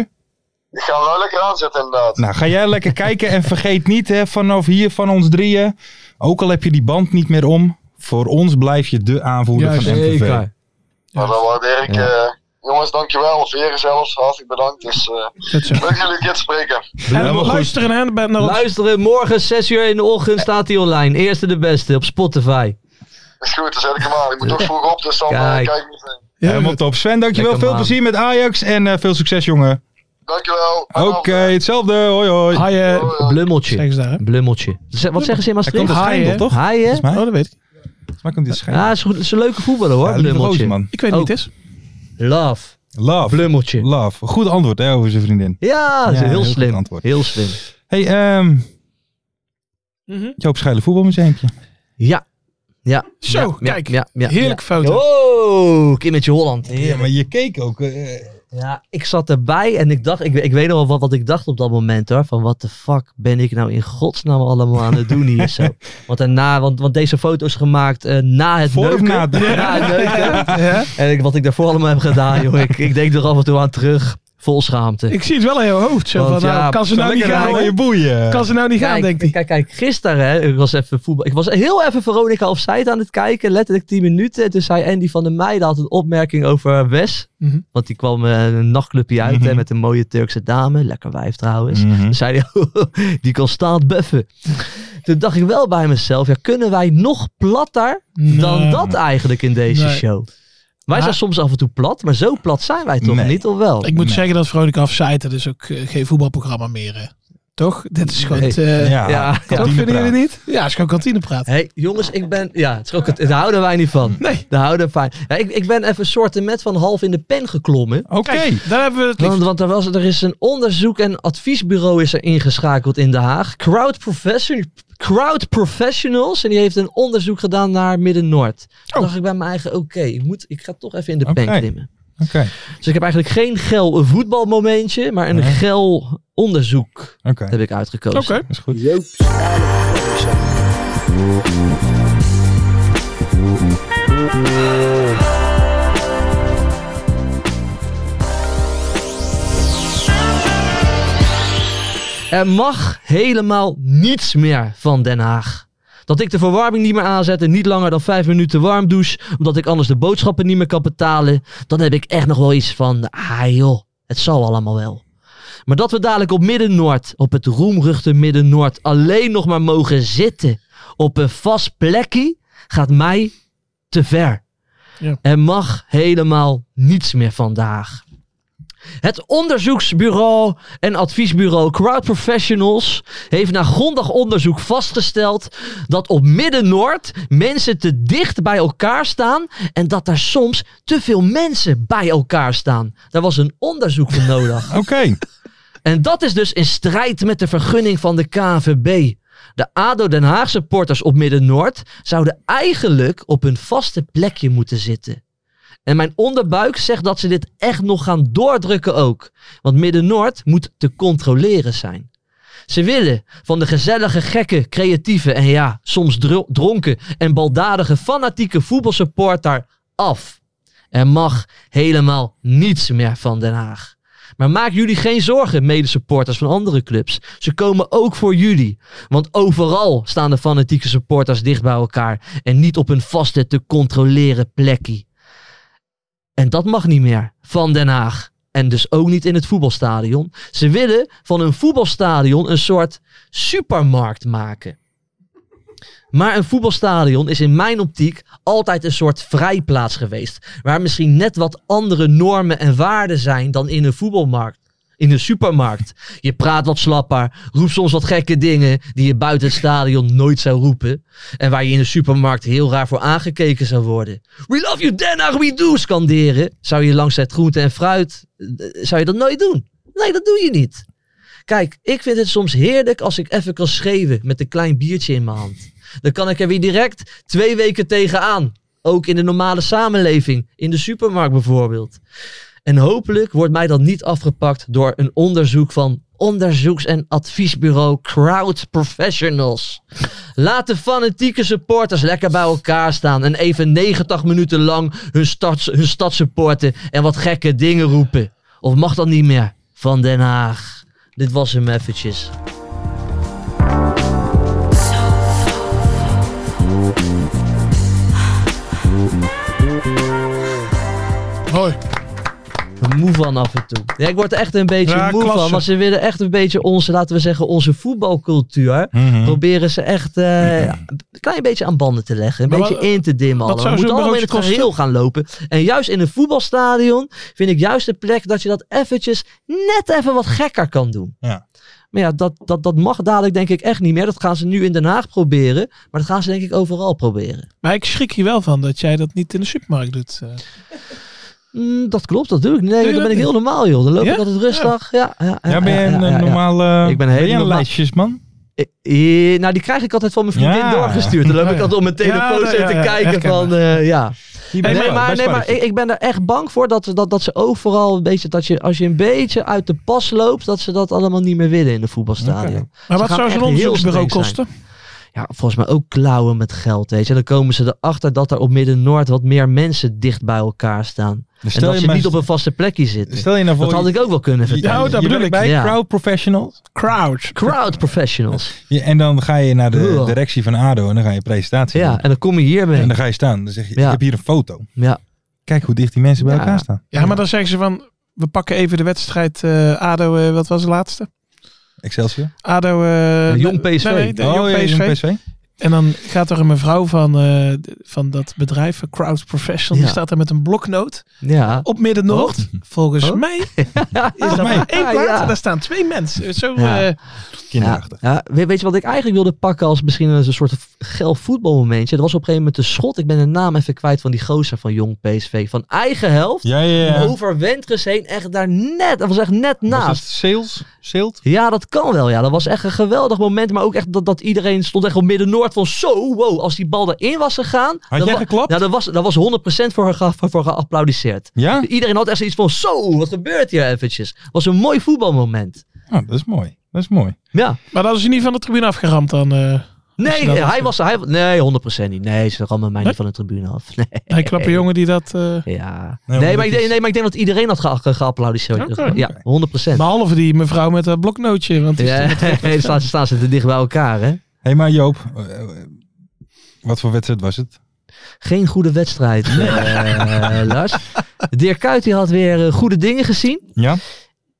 [SPEAKER 8] Ik ga hem wel lekker aanzetten, inderdaad.
[SPEAKER 4] Nou, ga jij lekker kijken en vergeet niet hè, vanaf hier van ons drieën. Ook al heb je die band niet meer om, voor ons blijf je de aanvoerder
[SPEAKER 5] Juist,
[SPEAKER 4] van MVV.
[SPEAKER 6] Zeker.
[SPEAKER 8] Maar dan waardeer ik. eh, jongens, dankjewel. Of heren zelfs, hartelijk bedankt. Dus eh,
[SPEAKER 5] Dat zo.
[SPEAKER 8] leuk jullie een keer te spreken.
[SPEAKER 5] En
[SPEAKER 4] Helemaal goed.
[SPEAKER 5] luisteren hè, bij- naar ons.
[SPEAKER 6] Luisteren, morgen 6 uur in de
[SPEAKER 4] Eh.
[SPEAKER 6] ochtend staat hij online. Eerste de beste op Spotify.
[SPEAKER 8] Is goed, dan zet ik hem aan. Ik moet toch vroeg op, dus dan eh,
[SPEAKER 6] Kijk.
[SPEAKER 8] kijk ik niet mee.
[SPEAKER 5] Ja,
[SPEAKER 4] Helemaal top. Sven, dankjewel.
[SPEAKER 6] Lekker
[SPEAKER 4] Veel
[SPEAKER 6] man.
[SPEAKER 4] plezier met Ajax en eh, veel succes, jongen.
[SPEAKER 8] Dankjewel.
[SPEAKER 4] Oké, hetzelfde. Hoi, hoi.
[SPEAKER 5] Hi, eh,
[SPEAKER 4] Oh,
[SPEAKER 8] Hoi, hoi.
[SPEAKER 6] Blummeltje.
[SPEAKER 5] zeggen ze daar, hè?
[SPEAKER 6] Blummeltje. Ze- Wat zeggen ze in
[SPEAKER 4] Hij komt
[SPEAKER 6] Maastricht?
[SPEAKER 4] uit
[SPEAKER 5] Hi,
[SPEAKER 4] Schijndel,
[SPEAKER 5] hè?
[SPEAKER 4] toch?
[SPEAKER 6] Haaien.
[SPEAKER 4] Volgens
[SPEAKER 5] Oh,
[SPEAKER 4] mij,
[SPEAKER 5] dat weet ik.
[SPEAKER 4] volgens mij komt hij uit Schijndel.
[SPEAKER 6] Ja, is, goed, is een leuke voetballer Ah, hoor,
[SPEAKER 4] Ja, lieve
[SPEAKER 6] Blummeltje.
[SPEAKER 4] gozer, man.
[SPEAKER 5] Ik weet niet
[SPEAKER 6] Oh.
[SPEAKER 5] wie het is.
[SPEAKER 6] Love.
[SPEAKER 4] Love.
[SPEAKER 6] Blummeltje.
[SPEAKER 4] Love. Goed antwoord hè, over zijn vriendin.
[SPEAKER 6] Ja, dat is
[SPEAKER 4] Ja, heel
[SPEAKER 6] heel
[SPEAKER 4] goed
[SPEAKER 6] slim.
[SPEAKER 4] antwoord.
[SPEAKER 6] Heel slim.
[SPEAKER 4] Hey, ehm
[SPEAKER 5] Mhm.
[SPEAKER 4] Joop Schijlen voetbalmuseumpje.
[SPEAKER 6] Ja. Ja.
[SPEAKER 5] Zo,
[SPEAKER 6] Ja, ja,
[SPEAKER 5] kijk.
[SPEAKER 6] ja, ja,
[SPEAKER 5] Heerlijk
[SPEAKER 6] ja.
[SPEAKER 5] fouten.
[SPEAKER 6] Oh, Kimmetje Holland.
[SPEAKER 4] Ja,
[SPEAKER 6] Heerlijk.
[SPEAKER 4] maar je keek ook. eh, Nou,
[SPEAKER 6] Ja, ik zat erbij en ik dacht, ik, ik weet nog wel wat, wat ik dacht op dat moment hoor. Van wat de fuck ben ik nou in godsnaam allemaal aan het doen hier zo. Want, daarna, want, want deze foto is gemaakt eh, na het
[SPEAKER 4] Voor of
[SPEAKER 6] neuken.
[SPEAKER 4] na het neuken?
[SPEAKER 6] het neuken. En ik, wat ik daarvoor allemaal heb gedaan joh. Ik, ik denk er af en toe aan terug. Vol schaamte.
[SPEAKER 5] Ik zie het wel in jouw hoofd. Zo,
[SPEAKER 6] Want
[SPEAKER 5] van, nou,
[SPEAKER 6] ja,
[SPEAKER 5] kan ze nou niet gaan?
[SPEAKER 4] je
[SPEAKER 5] hoor.
[SPEAKER 4] boeien.
[SPEAKER 5] Kan ze nou niet gaan, denkt
[SPEAKER 6] kijk,
[SPEAKER 5] hij.
[SPEAKER 6] kijk, kijk, gisteren, hè, ik was even voetbal. Ik was heel even Veronica Offside aan het kijken, letterlijk 10 minuten. En Toen zei Andy van der Meijden had een opmerking over Wes.
[SPEAKER 5] Mhm.
[SPEAKER 6] Want die kwam eh, een nachtclubje uit hè, met een mooie Turkse dame. Lekker wijf trouwens.
[SPEAKER 4] Mhm.
[SPEAKER 6] Toen zei hij, die kan staat buffen. Toen Toen dacht ik wel bij mezelf, ja, kunnen wij nog platter dan
[SPEAKER 5] Nee.
[SPEAKER 6] dat eigenlijk in deze
[SPEAKER 5] Nee.
[SPEAKER 6] show? Wij
[SPEAKER 5] Maar-
[SPEAKER 6] zijn soms af en toe plat, maar zo plat zijn wij toch
[SPEAKER 4] Nee.
[SPEAKER 6] niet, of wel?
[SPEAKER 5] Ik moet zeggen dat Veronica Afzijt, dat is ook eh, geen voetbalprogramma meer. eh. Toch? Dit is gewoon...
[SPEAKER 6] Nee.
[SPEAKER 5] het, eh,
[SPEAKER 6] ja.
[SPEAKER 4] Ja, ja.
[SPEAKER 5] Toch vinden jullie niet? Ja, het is gewoon kantinepraat.
[SPEAKER 6] Hé, hey, jongens, ik ben... Ja, het is ook het, daar houden wij niet van.
[SPEAKER 5] Nee.
[SPEAKER 6] Daar houden wij... Ja, ik, ik ben even soorten met van half in de pen geklommen.
[SPEAKER 4] Oké.
[SPEAKER 5] Kijk, daar hebben we het liefst.
[SPEAKER 6] Want, want er, was, er is een onderzoek en adviesbureau is er ingeschakeld in Den Haag. Crowd, Profession- Crowd Professionals. En die heeft een onderzoek gedaan naar Midden-Noord. Toen dacht ik bij mijn eigen, oké, ik, moet- ik ga toch even in de
[SPEAKER 4] Oké.
[SPEAKER 6] pen klimmen.
[SPEAKER 4] Oké.
[SPEAKER 6] Dus ik heb eigenlijk geen gel voetbalmomentje, maar een
[SPEAKER 4] Nee.
[SPEAKER 6] gel onderzoek
[SPEAKER 4] Oké.
[SPEAKER 6] heb ik uitgekozen.
[SPEAKER 5] Oké.
[SPEAKER 4] Dat is goed.
[SPEAKER 6] Er mag helemaal niets meer van Den Haag. Dat ik de verwarming niet meer aanzet en niet langer dan vijf minuten warm douche, omdat ik anders de boodschappen niet meer kan betalen, dan heb ik echt nog wel iets van, ah joh, het zal allemaal wel. Maar dat we dadelijk op Midden-Noord, op het roemruchte Midden-Noord, alleen nog maar mogen zitten op een vast plekje, gaat mij te ver.
[SPEAKER 5] Ja.
[SPEAKER 6] Er mag helemaal niets meer vandaag. Het onderzoeksbureau en adviesbureau Crowd Professionals heeft na grondig onderzoek vastgesteld dat op Midden-Noord mensen te dicht bij elkaar staan en dat daar soms te veel mensen bij elkaar staan. Daar was een onderzoek voor nodig.
[SPEAKER 4] Oké.
[SPEAKER 6] En dat is dus in strijd met de vergunning van de KNVB. De ADO Den Haag supporters op Midden-Noord zouden eigenlijk op hun vaste plekje moeten zitten. En mijn onderbuik zegt dat ze dit echt nog gaan doordrukken ook. Want Midden-Noord moet te controleren zijn. Ze willen van de gezellige, gekke, creatieve en ja, soms dro- dronken en baldadige fanatieke voetbalsupporter af. Er mag helemaal niets meer van Den Haag. Maar maak jullie geen zorgen, mede-supporters van andere clubs. Ze komen ook voor jullie. Want overal staan de fanatieke supporters dicht bij elkaar. En niet op hun vaste te controleren plekje. En dat mag niet meer van Den Haag. En dus ook niet in het voetbalstadion. Ze willen van hun voetbalstadion een soort supermarkt maken. Maar een voetbalstadion is in mijn optiek altijd een soort vrijplaats geweest. Waar misschien net wat andere normen en waarden zijn dan in een voetbalmarkt. In een supermarkt. Je praat wat slapper, roept soms wat gekke dingen die je buiten het stadion nooit zou roepen. En waar je in een supermarkt heel raar voor aangekeken zou worden. We love you Den Haag, we do scanderen. Zou je langs het groente en fruit, eh, zou je dat nooit doen? Nee, dat doe je niet. Kijk, ik vind het soms heerlijk als ik even kan schreeuwen met een klein biertje in mijn hand. Dan kan ik er weer direct twee weken tegenaan. Ook in de normale samenleving, in de supermarkt bijvoorbeeld. En hopelijk wordt mij dat niet afgepakt door een onderzoek van onderzoeks- en adviesbureau Crowd Professionals. Laat de fanatieke supporters lekker bij elkaar staan en even 90 minuten lang hun, stads, hun stad supporten en wat gekke dingen roepen. Of mag dat niet meer? Van Den Haag. Dit was hem eventjes.
[SPEAKER 5] Mooi.
[SPEAKER 6] moe van af en toe. Ja, ik word er echt een beetje
[SPEAKER 5] Ja,
[SPEAKER 6] moe
[SPEAKER 5] klasse.
[SPEAKER 6] van. Want ze willen echt een beetje onze, laten we zeggen, onze voetbalcultuur.
[SPEAKER 4] Mhm.
[SPEAKER 6] Proberen ze echt eh, een klein beetje aan banden te leggen. Een
[SPEAKER 5] Maar
[SPEAKER 6] beetje
[SPEAKER 5] wat-
[SPEAKER 6] in te dimmen.
[SPEAKER 5] wat
[SPEAKER 6] allemaal.
[SPEAKER 5] zou
[SPEAKER 6] We moeten
[SPEAKER 5] zo'n
[SPEAKER 6] allemaal in het
[SPEAKER 5] broodje
[SPEAKER 6] geheel gaan lopen. En juist in een voetbalstadion vind ik juist de plek dat je dat eventjes net even wat gekker kan doen.
[SPEAKER 4] Ja.
[SPEAKER 6] Maar ja, dat, dat, dat mag dadelijk denk ik echt niet meer. Dat gaan ze nu in Den Haag proberen. Maar dat gaan ze denk ik overal proberen.
[SPEAKER 5] Maar ik schrik hier wel van dat jij dat niet in de supermarkt doet. eh.
[SPEAKER 6] Mm, dat klopt, dat doe ik. Nee,
[SPEAKER 5] je
[SPEAKER 6] dan
[SPEAKER 5] dat
[SPEAKER 6] ben ik heel normaal, joh. Dan loop
[SPEAKER 5] Ja?
[SPEAKER 6] ik altijd rustig. Ja, ja, ja,
[SPEAKER 4] Ja, ben
[SPEAKER 6] ja,
[SPEAKER 4] je een
[SPEAKER 6] ja, ja,
[SPEAKER 4] eh,
[SPEAKER 6] ja.
[SPEAKER 4] normale...
[SPEAKER 6] Ik ben
[SPEAKER 4] ben je een
[SPEAKER 6] helemaal-
[SPEAKER 4] lijstjesman?
[SPEAKER 6] Eh, eh, nou, die krijg ik altijd van mijn vriendin
[SPEAKER 4] Ja.
[SPEAKER 6] doorgestuurd. Dan loop ik altijd op mijn telefoon
[SPEAKER 5] Ja,
[SPEAKER 6] zo
[SPEAKER 5] ja,
[SPEAKER 6] te
[SPEAKER 5] ja,
[SPEAKER 6] kijken
[SPEAKER 5] herkenbaar.
[SPEAKER 6] van, eh, ja.
[SPEAKER 4] Je
[SPEAKER 6] Nee,
[SPEAKER 4] bent wel,
[SPEAKER 6] maar,
[SPEAKER 4] best
[SPEAKER 6] nee, maar
[SPEAKER 4] spannend.
[SPEAKER 6] ik, ik ben er echt bang voor dat, ze- dat, dat ze overal een beetje, dat je, als je een beetje uit de pas loopt, dat ze dat allemaal niet meer willen in de voetbalstadion. Ze
[SPEAKER 5] Maar wat
[SPEAKER 6] gaan
[SPEAKER 5] zou
[SPEAKER 6] echt
[SPEAKER 5] zo'n
[SPEAKER 6] heel
[SPEAKER 5] onderzoeksbureau
[SPEAKER 6] streng zijn.
[SPEAKER 5] kosten?
[SPEAKER 6] Ja, volgens mij ook klauwen met geld, weet je. En dan komen ze erachter dat er op Midden-Noord wat meer mensen dicht bij elkaar staan.
[SPEAKER 4] Dus
[SPEAKER 6] en
[SPEAKER 4] stel
[SPEAKER 6] dat
[SPEAKER 4] je
[SPEAKER 6] ze
[SPEAKER 4] maar-
[SPEAKER 6] niet op een vaste plekje zitten.
[SPEAKER 4] Stel je nou voor...
[SPEAKER 6] Dat had ik ook wel kunnen
[SPEAKER 4] je-
[SPEAKER 6] vertellen.
[SPEAKER 5] Ja, oh, dat
[SPEAKER 4] je
[SPEAKER 5] bedoel
[SPEAKER 4] werkt
[SPEAKER 5] ik.
[SPEAKER 4] bij
[SPEAKER 6] Ja.
[SPEAKER 4] Crowd Professionals.
[SPEAKER 5] Crowd.
[SPEAKER 6] Crowd professionals.
[SPEAKER 4] Ja, en dan ga je naar de
[SPEAKER 6] Cool.
[SPEAKER 4] directie van ADO en dan ga je presentatie doen.
[SPEAKER 6] Ja, en dan kom je hiermee.
[SPEAKER 4] En dan ga je staan. Dan zeg je,
[SPEAKER 6] Ja.
[SPEAKER 4] ik heb hier een foto.
[SPEAKER 6] Ja.
[SPEAKER 4] Kijk hoe dicht die mensen bij
[SPEAKER 6] Ja.
[SPEAKER 4] elkaar staan.
[SPEAKER 5] Ja, maar dan zeggen ze van, we pakken even de wedstrijd eh, ADO, eh, wat was de laatste?
[SPEAKER 4] Excelsior.
[SPEAKER 5] ADO... eh,
[SPEAKER 6] Jong
[SPEAKER 5] nee,
[SPEAKER 6] PSV.
[SPEAKER 5] nee, nee,
[SPEAKER 4] oh,
[SPEAKER 5] Jong
[SPEAKER 4] ja,
[SPEAKER 5] PSV.
[SPEAKER 4] Jong PSV.
[SPEAKER 5] En dan gaat er een mevrouw van, eh, van dat bedrijf, Crowd Professional, die
[SPEAKER 6] Ja.
[SPEAKER 5] staat daar met een bloknoot
[SPEAKER 6] Ja.
[SPEAKER 5] op Midden-Noord. Volgens
[SPEAKER 6] Oh.
[SPEAKER 5] mij is dat
[SPEAKER 4] mij.
[SPEAKER 5] maar één
[SPEAKER 6] Ah,
[SPEAKER 5] plaat
[SPEAKER 6] ja.
[SPEAKER 5] en daar staan twee mensen. Zo,
[SPEAKER 6] Ja.
[SPEAKER 5] eh,
[SPEAKER 6] Ja,
[SPEAKER 4] Kinderachtig.
[SPEAKER 6] ja, weet, weet je wat ik eigenlijk wilde pakken als misschien een soort gel voetbalmomentje? Dat was op een gegeven moment de schot. Ik ben de naam even kwijt van die gozer van Jong PSV. Van eigen helft.
[SPEAKER 4] Ja, ja, ja.
[SPEAKER 6] Over Wentres heen. Echt daar net. Dat was echt net
[SPEAKER 4] Was dat
[SPEAKER 6] naast.
[SPEAKER 4] sales? Sales?
[SPEAKER 6] Ja, dat kan wel. Ja, dat was echt een geweldig moment. Maar ook echt dat, dat iedereen stond echt op midden-noord van zo, wow. Als die bal erin was gegaan.
[SPEAKER 4] Had
[SPEAKER 6] dan
[SPEAKER 4] jij
[SPEAKER 6] wa-
[SPEAKER 4] geklapt?
[SPEAKER 6] Ja, dat was, dat was 100% voor, ge- voor geapplaudiseerd.
[SPEAKER 4] Ja?
[SPEAKER 6] Iedereen had echt zoiets van zo, wat gebeurt hier eventjes. was een mooi voetbalmoment.
[SPEAKER 4] Ah, dat is mooi. Dat is mooi.
[SPEAKER 6] Ja.
[SPEAKER 5] maar dat is hij niet van de tribune afgeramd dan. eh Als je
[SPEAKER 6] Nee,
[SPEAKER 5] dat
[SPEAKER 6] hij
[SPEAKER 5] doet.
[SPEAKER 6] was, hij, nee, 100% niet. Nee, ze rammen mij
[SPEAKER 5] Nee?
[SPEAKER 6] niet van de tribune af. Nee.
[SPEAKER 5] hij klappe jongen die dat... eh,
[SPEAKER 6] Ja. Nee,
[SPEAKER 4] Nee, omdat
[SPEAKER 6] maar ik
[SPEAKER 4] het
[SPEAKER 6] denk,
[SPEAKER 4] is-
[SPEAKER 6] nee, maar ik denk dat iedereen had ge- ge- geapplaudiseerd.
[SPEAKER 5] Oké.
[SPEAKER 6] Ja, 100%.
[SPEAKER 5] behalve die mevrouw met dat bloknootje. Want die
[SPEAKER 6] Ja,
[SPEAKER 5] stond-
[SPEAKER 6] dan staan, ze- staan ze te dicht bij elkaar, hè?
[SPEAKER 4] Hé, hey, maar Joop, eh, eh, wat voor wedstrijd was het?
[SPEAKER 6] Geen goede wedstrijd, eh, Lars. Dirk Kuyt die had weer eh, goede dingen gezien.
[SPEAKER 4] Ja?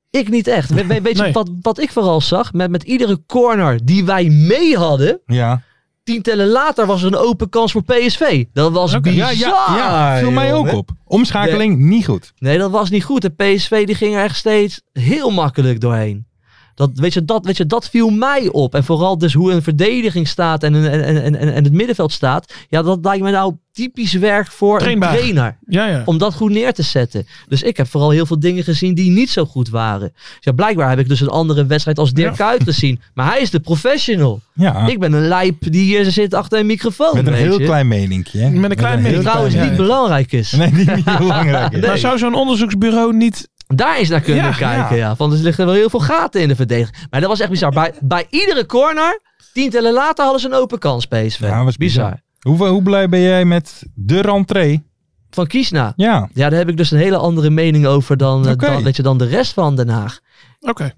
[SPEAKER 6] Ik niet echt. We- we- weet je
[SPEAKER 5] Nee.
[SPEAKER 6] wat, wat ik vooral zag? Met, met iedere corner die wij mee hadden,
[SPEAKER 4] Ja.
[SPEAKER 6] tien tellen later was er een open kans voor PSV. Dat was
[SPEAKER 4] Ja,
[SPEAKER 6] bizar.
[SPEAKER 4] ja, ja. Viel mij ook
[SPEAKER 6] jongen.
[SPEAKER 4] op. Omschakeling niet goed.
[SPEAKER 6] Nee, dat was niet goed. De PSV die ging er echt steeds heel makkelijk doorheen. Dat, weet, je, dat, weet je, dat viel mij op. En vooral dus hoe een verdediging staat en, een- en, en, en, en het middenveld staat. Ja, dat lijkt me nou typisch werk voor
[SPEAKER 5] Trainbaar.
[SPEAKER 6] een trainer.
[SPEAKER 5] ja, ja.
[SPEAKER 6] Om dat goed neer te zetten. Dus ik heb vooral heel veel dingen gezien die niet zo goed waren. Dus ja, blijkbaar heb ik dus een andere wedstrijd als Dirk Kuyt gezien. Maar hij is de professional.
[SPEAKER 4] Ja.
[SPEAKER 6] Ik ben een lijp die hier zit achter een microfoon.
[SPEAKER 4] Met een
[SPEAKER 6] weet
[SPEAKER 4] heel
[SPEAKER 6] je.
[SPEAKER 4] klein meninkje. hè?
[SPEAKER 5] Met een klein
[SPEAKER 4] heel
[SPEAKER 6] Die
[SPEAKER 5] meninkje.
[SPEAKER 4] klein
[SPEAKER 6] trouwens niet
[SPEAKER 4] meninkje.
[SPEAKER 6] belangrijk is.
[SPEAKER 4] Nee, die niet belangrijk is.
[SPEAKER 5] Maar zou zo'n onderzoeksbureau niet...
[SPEAKER 6] Daar eens naar kunnen
[SPEAKER 5] Ja,
[SPEAKER 6] kijken, ja. Want er liggen wel heel veel gaten in de verdediging. Maar dat was echt bizar. Bij, bij iedere corner, tientallen later hadden ze een open kans, PSV.
[SPEAKER 4] Ja, was bizar.
[SPEAKER 6] bizar.
[SPEAKER 4] Hoe, hoe blij ben jij met de rentree?
[SPEAKER 6] Van Kiesna.
[SPEAKER 4] Ja.
[SPEAKER 6] Ja, daar heb ik dus een hele andere mening over dan, eh,
[SPEAKER 4] Oké.
[SPEAKER 6] dan, weet je, dan de rest van Den Haag.
[SPEAKER 5] Oké.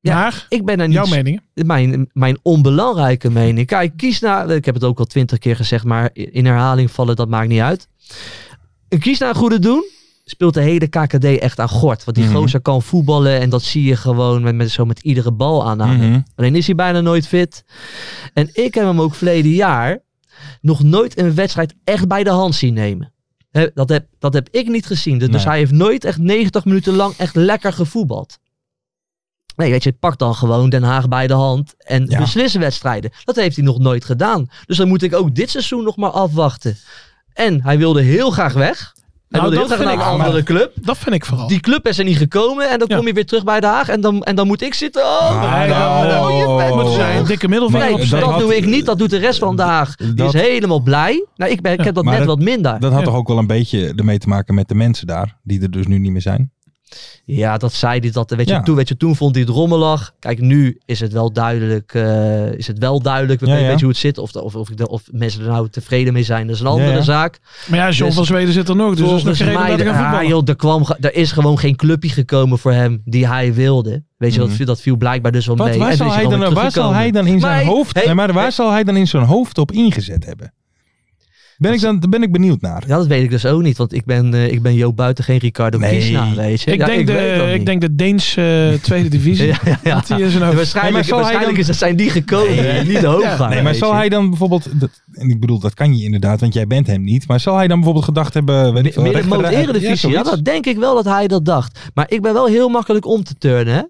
[SPEAKER 6] Ja.
[SPEAKER 5] Maar,
[SPEAKER 6] Ik ben daar niet...
[SPEAKER 5] jouw mening.
[SPEAKER 6] Mijn, mijn onbelangrijke mening. Kijk, Kiesna... Ik heb het ook al twintig keer gezegd, maar in herhaling vallen, dat maakt niet uit. Een Kiesna een goede doen... Speelt de hele KKD echt aan gort. Want die
[SPEAKER 4] Mhm.
[SPEAKER 6] gozer kan voetballen. En dat zie je gewoon met, met, zo met iedere bal aanhouden.
[SPEAKER 4] Mhm.
[SPEAKER 6] Alleen is hij bijna nooit fit. En ik heb hem ook verleden jaar nog nooit een wedstrijd echt bij de hand zien nemen. Hè, dat, heb, dat heb ik niet gezien. Dus
[SPEAKER 4] Nee.
[SPEAKER 6] hij heeft nooit echt 90 minuten lang echt lekker gevoetbald. Nee, weet je, pak dan gewoon Den Haag bij de hand en
[SPEAKER 4] Ja.
[SPEAKER 6] beslissen wedstrijden. Dat heeft hij nog nooit gedaan. Dus dan moet ik ook dit seizoen nog maar afwachten. En hij wilde heel graag weg. Hij
[SPEAKER 5] Nou,
[SPEAKER 6] wilde heel
[SPEAKER 5] dat
[SPEAKER 6] graag
[SPEAKER 5] vind
[SPEAKER 6] naar een
[SPEAKER 5] ik-
[SPEAKER 6] andere club.
[SPEAKER 5] Dat vind ik vooral.
[SPEAKER 6] Die club is er niet gekomen en dan
[SPEAKER 5] Ja.
[SPEAKER 6] kom je weer terug bij Den Haag. En dan, en dan moet ik zitten. Oh,
[SPEAKER 4] Ah,
[SPEAKER 6] nee,
[SPEAKER 4] nou.
[SPEAKER 6] oh, je bent
[SPEAKER 5] moet
[SPEAKER 4] Oh.
[SPEAKER 5] zijn een dikke middelvinger
[SPEAKER 6] Nee,
[SPEAKER 4] dat
[SPEAKER 6] dat,
[SPEAKER 5] opsteken.
[SPEAKER 4] had-
[SPEAKER 6] doe ik niet. Dat doet de rest van de Haag. Die
[SPEAKER 4] dat-
[SPEAKER 6] is helemaal blij. Nou, ik, ben, ik heb dat
[SPEAKER 4] maar
[SPEAKER 6] net
[SPEAKER 4] dat-
[SPEAKER 6] wat minder.
[SPEAKER 4] Dat had
[SPEAKER 5] Ja.
[SPEAKER 4] toch ook wel een beetje ermee te maken met de mensen daar, die er dus nu niet meer zijn.
[SPEAKER 6] ja, dat zei hij. Dat, weet je,
[SPEAKER 4] Ja.
[SPEAKER 6] toen, weet je, toen vond hij het rommelig. Kijk, nu is het wel duidelijk. eh, is het wel duidelijk. We
[SPEAKER 4] Ja,
[SPEAKER 6] weten
[SPEAKER 4] ja.
[SPEAKER 6] weet je hoe het zit. Of, de- of, of, ik de- of mensen er nou tevreden mee zijn. Dat is een
[SPEAKER 4] Ja,
[SPEAKER 6] andere
[SPEAKER 4] ja.
[SPEAKER 6] zaak.
[SPEAKER 5] Maar ja, John
[SPEAKER 6] Dus-
[SPEAKER 5] van Zweden zit er nog. Dus dat is nog
[SPEAKER 6] Volgens
[SPEAKER 5] geen reden
[SPEAKER 6] mij,
[SPEAKER 5] dat ik gaan
[SPEAKER 6] ah,
[SPEAKER 5] voetballen.
[SPEAKER 6] joh, er, kwam, ge- er is gewoon geen clubje gekomen voor hem die hij wilde. Weet je,
[SPEAKER 4] Mhm.
[SPEAKER 6] dat, viel- dat viel blijkbaar dus wel
[SPEAKER 4] Wat,
[SPEAKER 6] mee.
[SPEAKER 4] waar,
[SPEAKER 6] En toen is
[SPEAKER 4] zal hij,
[SPEAKER 6] gewoon
[SPEAKER 4] dan,
[SPEAKER 6] weer
[SPEAKER 4] waar zal hij
[SPEAKER 6] teruggekomen.
[SPEAKER 4] dan in zijn
[SPEAKER 6] Maar hij-
[SPEAKER 4] hoofd,
[SPEAKER 6] hey,
[SPEAKER 4] nee, maar waar
[SPEAKER 6] hey.
[SPEAKER 4] zal hij dan in zijn hoofd op ingezet hebben? Ben ik dan, daar ben ik benieuwd naar.
[SPEAKER 6] Ja, dat weet ik dus ook niet. Want ik ben, eh, ik ben Jo Buiten geen Ricardo
[SPEAKER 4] Nee.
[SPEAKER 6] Kiesna, weet je.
[SPEAKER 5] Ik,
[SPEAKER 6] Ja,
[SPEAKER 5] denk
[SPEAKER 6] weet dat
[SPEAKER 5] de, ik
[SPEAKER 6] niet.
[SPEAKER 5] denk de Deense eh, tweede divisie.
[SPEAKER 6] Ja, ja, ja.
[SPEAKER 5] Dat
[SPEAKER 6] Ja,
[SPEAKER 5] die is een hoofd.
[SPEAKER 4] Nee, maar
[SPEAKER 6] waarschijnlijk
[SPEAKER 4] zal hij
[SPEAKER 6] waarschijnlijk
[SPEAKER 4] dan-
[SPEAKER 6] is, zijn die gekomen
[SPEAKER 4] Nee.
[SPEAKER 6] en niet de hoofdgang.
[SPEAKER 4] Nee, maar zal hij dan bijvoorbeeld, dat, en ik bedoel, dat kan je inderdaad, want jij bent hem niet, maar zal hij dan bijvoorbeeld gedacht hebben, weet ik veel,
[SPEAKER 6] Meer
[SPEAKER 4] rechter-
[SPEAKER 6] de eredivisie, ja,
[SPEAKER 4] zoiets.
[SPEAKER 6] dat denk ik wel dat hij dat dacht. Maar ik ben wel heel makkelijk om te turnen, hè.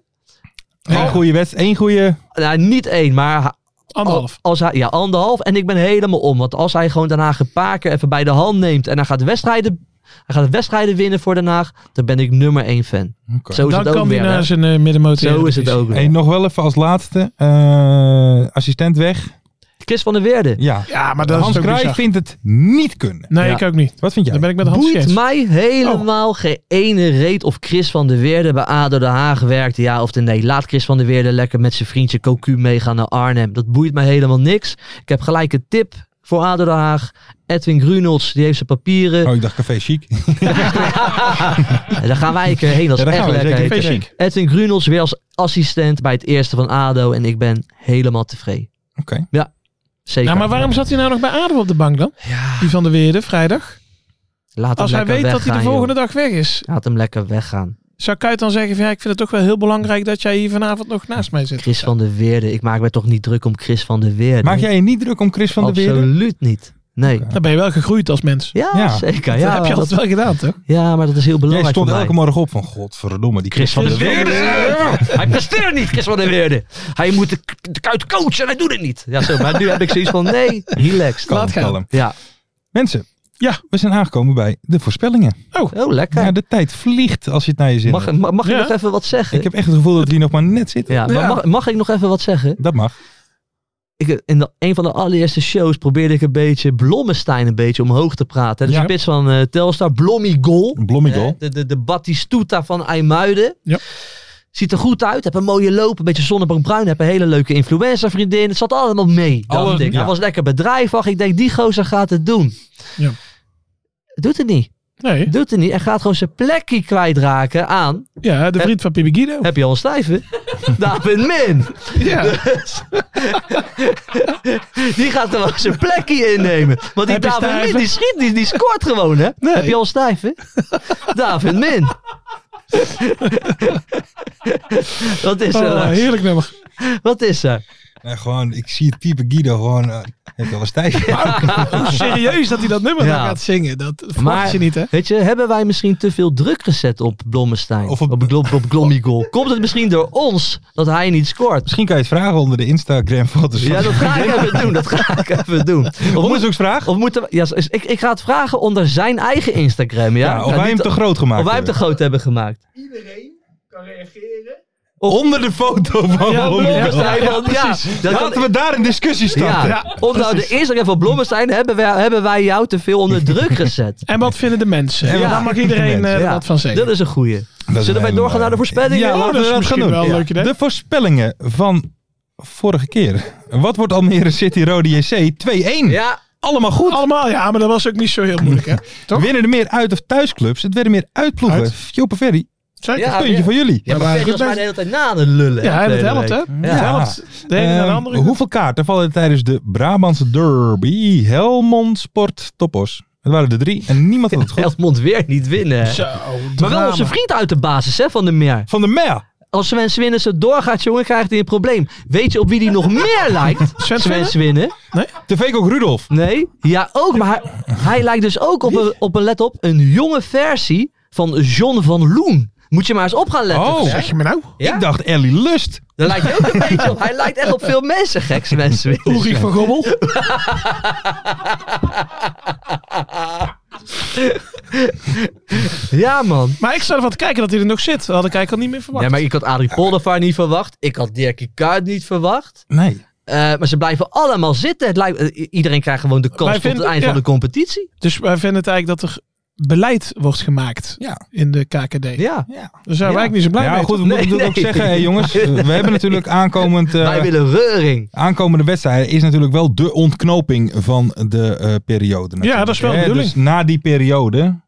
[SPEAKER 4] Eén goede wedstrijd, één goede,
[SPEAKER 6] Nou, niet één, maar ha-
[SPEAKER 5] Anderhalf.
[SPEAKER 6] Als hij, ja, anderhalf. En ik ben helemaal om. Want als hij gewoon Den Haag een paar keer even bij de hand neemt en hij gaat wedstrijden, hij gaat wedstrijden winnen voor Den Haag, dan ben ik nummer één fan.
[SPEAKER 4] Oké.
[SPEAKER 6] Zo is
[SPEAKER 5] Dan
[SPEAKER 6] het ook
[SPEAKER 5] kan die
[SPEAKER 6] weer, hè.
[SPEAKER 5] naar zijn eh, middenmotor.
[SPEAKER 6] Zo is het ook
[SPEAKER 4] Hey,
[SPEAKER 6] weer.
[SPEAKER 4] nog wel even als laatste, eh, assistent weg.
[SPEAKER 6] Chris van der Weerde.
[SPEAKER 4] Ja,
[SPEAKER 5] Ja, maar dat
[SPEAKER 4] Hans
[SPEAKER 5] is ook
[SPEAKER 4] Kraai
[SPEAKER 5] bizar.
[SPEAKER 4] vindt het niet kunnen.
[SPEAKER 5] Nee,
[SPEAKER 6] Ja.
[SPEAKER 5] ik ook niet.
[SPEAKER 4] Wat vind jij?
[SPEAKER 5] Dan ben ik met Hans
[SPEAKER 6] Boeit
[SPEAKER 5] eens.
[SPEAKER 6] mij helemaal geen ene reet of Chris van der Weerde bij ADO Den Haag werkt. Ja of de nee. Laat Chris van der Weerde lekker met zijn vriendje Cocu meegaan naar Arnhem. Dat boeit mij helemaal niks. Ik heb gelijk een tip voor ADO Den Haag. Edwin Grunolds, die heeft zijn papieren.
[SPEAKER 4] Oh, ik dacht café chic.
[SPEAKER 6] En Daar gaan wij een keer heen. Dat is
[SPEAKER 4] Ja, daar
[SPEAKER 6] echt
[SPEAKER 4] gaan we.
[SPEAKER 6] lekker.
[SPEAKER 4] Zeker,
[SPEAKER 6] Heten.
[SPEAKER 4] zeker.
[SPEAKER 6] Edwin Grunolds weer als assistent bij het eerste van ADO. En ik ben helemaal tevreden.
[SPEAKER 4] Oké.
[SPEAKER 6] Ja, zeker.
[SPEAKER 5] Ja, maar waarom zat hij nou nog bij ADO op de bank dan?
[SPEAKER 6] Ja,
[SPEAKER 5] Die van de Weerde, vrijdag.
[SPEAKER 6] laat hem
[SPEAKER 5] Als hij
[SPEAKER 6] lekker
[SPEAKER 5] weet dat hij de
[SPEAKER 6] weggaan,
[SPEAKER 5] volgende
[SPEAKER 6] joh.
[SPEAKER 5] dag weg is.
[SPEAKER 6] Laat hem lekker weggaan.
[SPEAKER 5] Zou Kuit dan zeggen van ja, ik vind het toch wel heel belangrijk dat jij hier vanavond nog naast mij zit?
[SPEAKER 6] Chris van der Weerde. Ik maak me toch niet druk om Chris van der Weerde.
[SPEAKER 4] Maak jij je niet druk om Chris van der Weerde?
[SPEAKER 6] Absoluut niet. Nee.
[SPEAKER 5] Dan ben je wel gegroeid als mens.
[SPEAKER 6] Ja,
[SPEAKER 4] Ja.
[SPEAKER 6] zeker.
[SPEAKER 5] dat
[SPEAKER 6] Ja,
[SPEAKER 5] heb je altijd wel gedaan, toch?
[SPEAKER 6] ja, maar dat is heel
[SPEAKER 4] Jij
[SPEAKER 6] belangrijk
[SPEAKER 4] stond
[SPEAKER 6] voor mij.
[SPEAKER 4] elke morgen op van godverdomme. Die
[SPEAKER 6] Chris van der Weerde.
[SPEAKER 4] Ja.
[SPEAKER 6] Hij presteert niet, Chris van der Weerde. Hij moet de, de kuit coachen en hij doet het niet. Ja, zo, maar nu heb ik zoiets van, nee, relaxed.
[SPEAKER 4] Kalm,
[SPEAKER 5] Laat gaan.
[SPEAKER 4] kalm.
[SPEAKER 6] Ja,
[SPEAKER 4] Mensen,
[SPEAKER 5] Ja.
[SPEAKER 4] we zijn aangekomen bij de voorspellingen.
[SPEAKER 6] oh,
[SPEAKER 4] Ja.
[SPEAKER 6] lekker.
[SPEAKER 4] de tijd vliegt als je het naar je zin
[SPEAKER 6] Mag,
[SPEAKER 4] hebt.
[SPEAKER 6] mag, mag ik
[SPEAKER 5] Ja.
[SPEAKER 6] nog even wat zeggen?
[SPEAKER 4] Ik heb echt het gevoel dat die nog maar net zitten.
[SPEAKER 6] ja, maar
[SPEAKER 5] Ja.
[SPEAKER 6] Mag, mag ik nog even wat zeggen?
[SPEAKER 4] Dat mag.
[SPEAKER 6] Ik, in de- een van de allereerste shows probeerde ik een beetje Blommestein een beetje omhoog te praten. De
[SPEAKER 4] Ja.
[SPEAKER 6] spits van eh, Telstar, Blommy Goal.
[SPEAKER 4] Een blommigol.
[SPEAKER 6] Hè, De, de, de Batistuta van IJmuiden.
[SPEAKER 5] Ja.
[SPEAKER 6] Ziet er goed uit. Heb een mooie loop. Een beetje zonnebruin. Heb een hele leuke influencer vriendin. Het zat allemaal mee. dacht
[SPEAKER 4] Alles-
[SPEAKER 6] ik.
[SPEAKER 4] ja.
[SPEAKER 6] Hij was lekker bedrijvig. Ik denk, die gozer gaat het doen.
[SPEAKER 5] Ja.
[SPEAKER 6] Doet het niet.
[SPEAKER 5] Nee.
[SPEAKER 6] Doet het niet. En gaat gewoon zijn plekje kwijtraken aan.
[SPEAKER 5] Ja, de vriend van Pibi Guido.
[SPEAKER 6] Heb je al een stijve? David Min.
[SPEAKER 5] Ja.
[SPEAKER 6] Die gaat gewoon zijn plekje innemen. Want die
[SPEAKER 5] Heb je
[SPEAKER 6] David Min,
[SPEAKER 5] stijve?
[SPEAKER 6] die schiet, die, die scoort gewoon, hè?
[SPEAKER 5] Nee.
[SPEAKER 6] Heb je al stijven? David Min. Wat is er?
[SPEAKER 5] Oh,
[SPEAKER 6] Lars?
[SPEAKER 5] heerlijk nummer.
[SPEAKER 6] Wat is er?
[SPEAKER 4] Nee, gewoon, ik zie het type Guido gewoon... eh, heb je al eens tijd?
[SPEAKER 5] Hoe serieus dat hij dat nummer
[SPEAKER 6] Ja.
[SPEAKER 5] dan gaat zingen. Dat verwacht je niet, hè?
[SPEAKER 6] Weet je, hebben wij misschien te veel druk gezet op Blommestein?
[SPEAKER 4] Of
[SPEAKER 6] Of
[SPEAKER 4] op-
[SPEAKER 6] op, op, op Glommigol? Komt het misschien door ons dat hij niet scoort?
[SPEAKER 4] Misschien kan je het vragen onder de Instagram-foto's.
[SPEAKER 6] Ja, dat ga ik even doen. Dat ga ik even doen. Of, moet-
[SPEAKER 4] Onderzoeksvraag?
[SPEAKER 6] of moeten we, ja, is- ik, ik ga het vragen onder zijn eigen Instagram. Ja,
[SPEAKER 4] Ja, of
[SPEAKER 6] Ja,
[SPEAKER 4] wij hem
[SPEAKER 6] niet-
[SPEAKER 4] te groot gemaakt
[SPEAKER 6] of wij hem te
[SPEAKER 4] hebben.
[SPEAKER 6] groot hebben gemaakt.
[SPEAKER 4] Onder de foto van
[SPEAKER 5] Ja,
[SPEAKER 4] Blommigol.
[SPEAKER 5] ja,
[SPEAKER 6] Blommestein, want- ja, dat kan-
[SPEAKER 4] Laten we daar een discussie starten.
[SPEAKER 6] ja, onder de Instagram van Blommestein hebben wij, hebben wij jou te veel onder druk gezet.
[SPEAKER 5] En wat vinden de mensen?
[SPEAKER 4] En
[SPEAKER 5] Ja,
[SPEAKER 4] wat
[SPEAKER 5] daar mag
[SPEAKER 4] vinden de
[SPEAKER 5] iedereen
[SPEAKER 4] mensen?
[SPEAKER 5] eh,
[SPEAKER 6] Ja,
[SPEAKER 5] wat van zeggen.
[SPEAKER 6] Dat is een goeie.
[SPEAKER 4] Dat is
[SPEAKER 6] Zullen
[SPEAKER 4] een
[SPEAKER 6] wij
[SPEAKER 4] hele
[SPEAKER 6] doorgaan naar de
[SPEAKER 4] mooie.
[SPEAKER 6] voorspellingen?
[SPEAKER 4] Ja,
[SPEAKER 6] Oh,
[SPEAKER 4] laten
[SPEAKER 5] dat
[SPEAKER 4] we
[SPEAKER 5] is
[SPEAKER 4] dat gaan
[SPEAKER 5] misschien
[SPEAKER 4] doen.
[SPEAKER 5] wel een leuk idee.
[SPEAKER 4] De voorspellingen van vorige keer. Wat wordt Almere City Rode JC 2-1?
[SPEAKER 6] Ja,
[SPEAKER 4] Allemaal goed.
[SPEAKER 5] Allemaal, ja, maar dat was ook niet zo heel moeilijk, hè? Toch?
[SPEAKER 4] Winnen er meer uit of thuisclubs? Het werden meer uitploegen.
[SPEAKER 5] Uit.
[SPEAKER 4] Joppe Ferry,
[SPEAKER 5] Zeker.
[SPEAKER 6] Ja,
[SPEAKER 5] Ja,
[SPEAKER 4] puntje
[SPEAKER 6] ja.
[SPEAKER 4] van jullie.
[SPEAKER 6] ja maar
[SPEAKER 5] maar
[SPEAKER 6] Ferry
[SPEAKER 5] goed,
[SPEAKER 6] was mij
[SPEAKER 5] dat-
[SPEAKER 6] de hele tijd na de lullen.
[SPEAKER 5] dat
[SPEAKER 6] Tweede
[SPEAKER 5] helpt, hè?
[SPEAKER 6] week.
[SPEAKER 5] Dat
[SPEAKER 6] Ja.
[SPEAKER 5] helpt. De ene naar de
[SPEAKER 4] Ehm,
[SPEAKER 5] andere.
[SPEAKER 4] hoeveel kaarten vallen tijdens de Brabantse derby? Helmond Sport Topos. Het waren er drie en niemand had het goed.
[SPEAKER 6] Helmond weer niet winnen. hè?
[SPEAKER 5] Zo,
[SPEAKER 6] Maar wel
[SPEAKER 5] drama.
[SPEAKER 6] onze vriend uit de basis, hè, van de meer.
[SPEAKER 4] Van de Mer.
[SPEAKER 6] Als Sven Swinnen zo doorgaat, jongen, krijgt hij een probleem. Weet je op wie die nog meer lijkt?
[SPEAKER 5] Sven
[SPEAKER 6] Sven
[SPEAKER 5] Swinnen?
[SPEAKER 6] Swinnen?
[SPEAKER 4] De ook Rudolf.
[SPEAKER 6] Nee? Ja, ook. Maar hij, hij lijkt dus ook op een, op een, let op, een jonge versie van John van Loen. Moet je maar eens op gaan letten.
[SPEAKER 4] Oh,
[SPEAKER 5] Zeg je me nou?
[SPEAKER 6] Ja?
[SPEAKER 4] ik dacht Ellie Lust.
[SPEAKER 6] Daar lijkt hij ook een beetje op. Hij lijkt echt op veel mensen, geks mensen.
[SPEAKER 5] Ulrich van Gobbel?
[SPEAKER 6] Ja, man.
[SPEAKER 5] Maar ik zou ervan te kijken dat hij er nog zit. Dat had ik eigenlijk al niet meer verwacht.
[SPEAKER 6] Ja, maar ik had Adrie Poldervaar niet verwacht. Ik had Dirkie Kuit niet verwacht.
[SPEAKER 4] Nee.
[SPEAKER 6] Eh, maar ze blijven allemaal zitten. Het lijkt, eh, i- iedereen krijgt gewoon de kans
[SPEAKER 5] Wij
[SPEAKER 6] tot
[SPEAKER 5] vinden-
[SPEAKER 6] het eind
[SPEAKER 5] ja.
[SPEAKER 6] van de competitie.
[SPEAKER 5] Dus wij vinden het eigenlijk dat er beleid wordt gemaakt
[SPEAKER 4] Ja.
[SPEAKER 5] in de KKD.
[SPEAKER 6] Ja. Ja.
[SPEAKER 5] Daar zijn we eigenlijk niet zo blij
[SPEAKER 4] Ja,
[SPEAKER 5] mee.
[SPEAKER 4] goed, we
[SPEAKER 6] Nee,
[SPEAKER 4] moeten natuurlijk
[SPEAKER 6] nee.
[SPEAKER 4] ook zeggen, hè, jongens. eh, We hebben natuurlijk aankomend... eh,
[SPEAKER 6] Wij willen reuring.
[SPEAKER 4] Aankomende wedstrijd is natuurlijk wel de ontknoping van de eh, periode. natuurlijk,
[SPEAKER 5] dat is wel de
[SPEAKER 4] hè.
[SPEAKER 5] bedoeling.
[SPEAKER 4] Dus na die periode.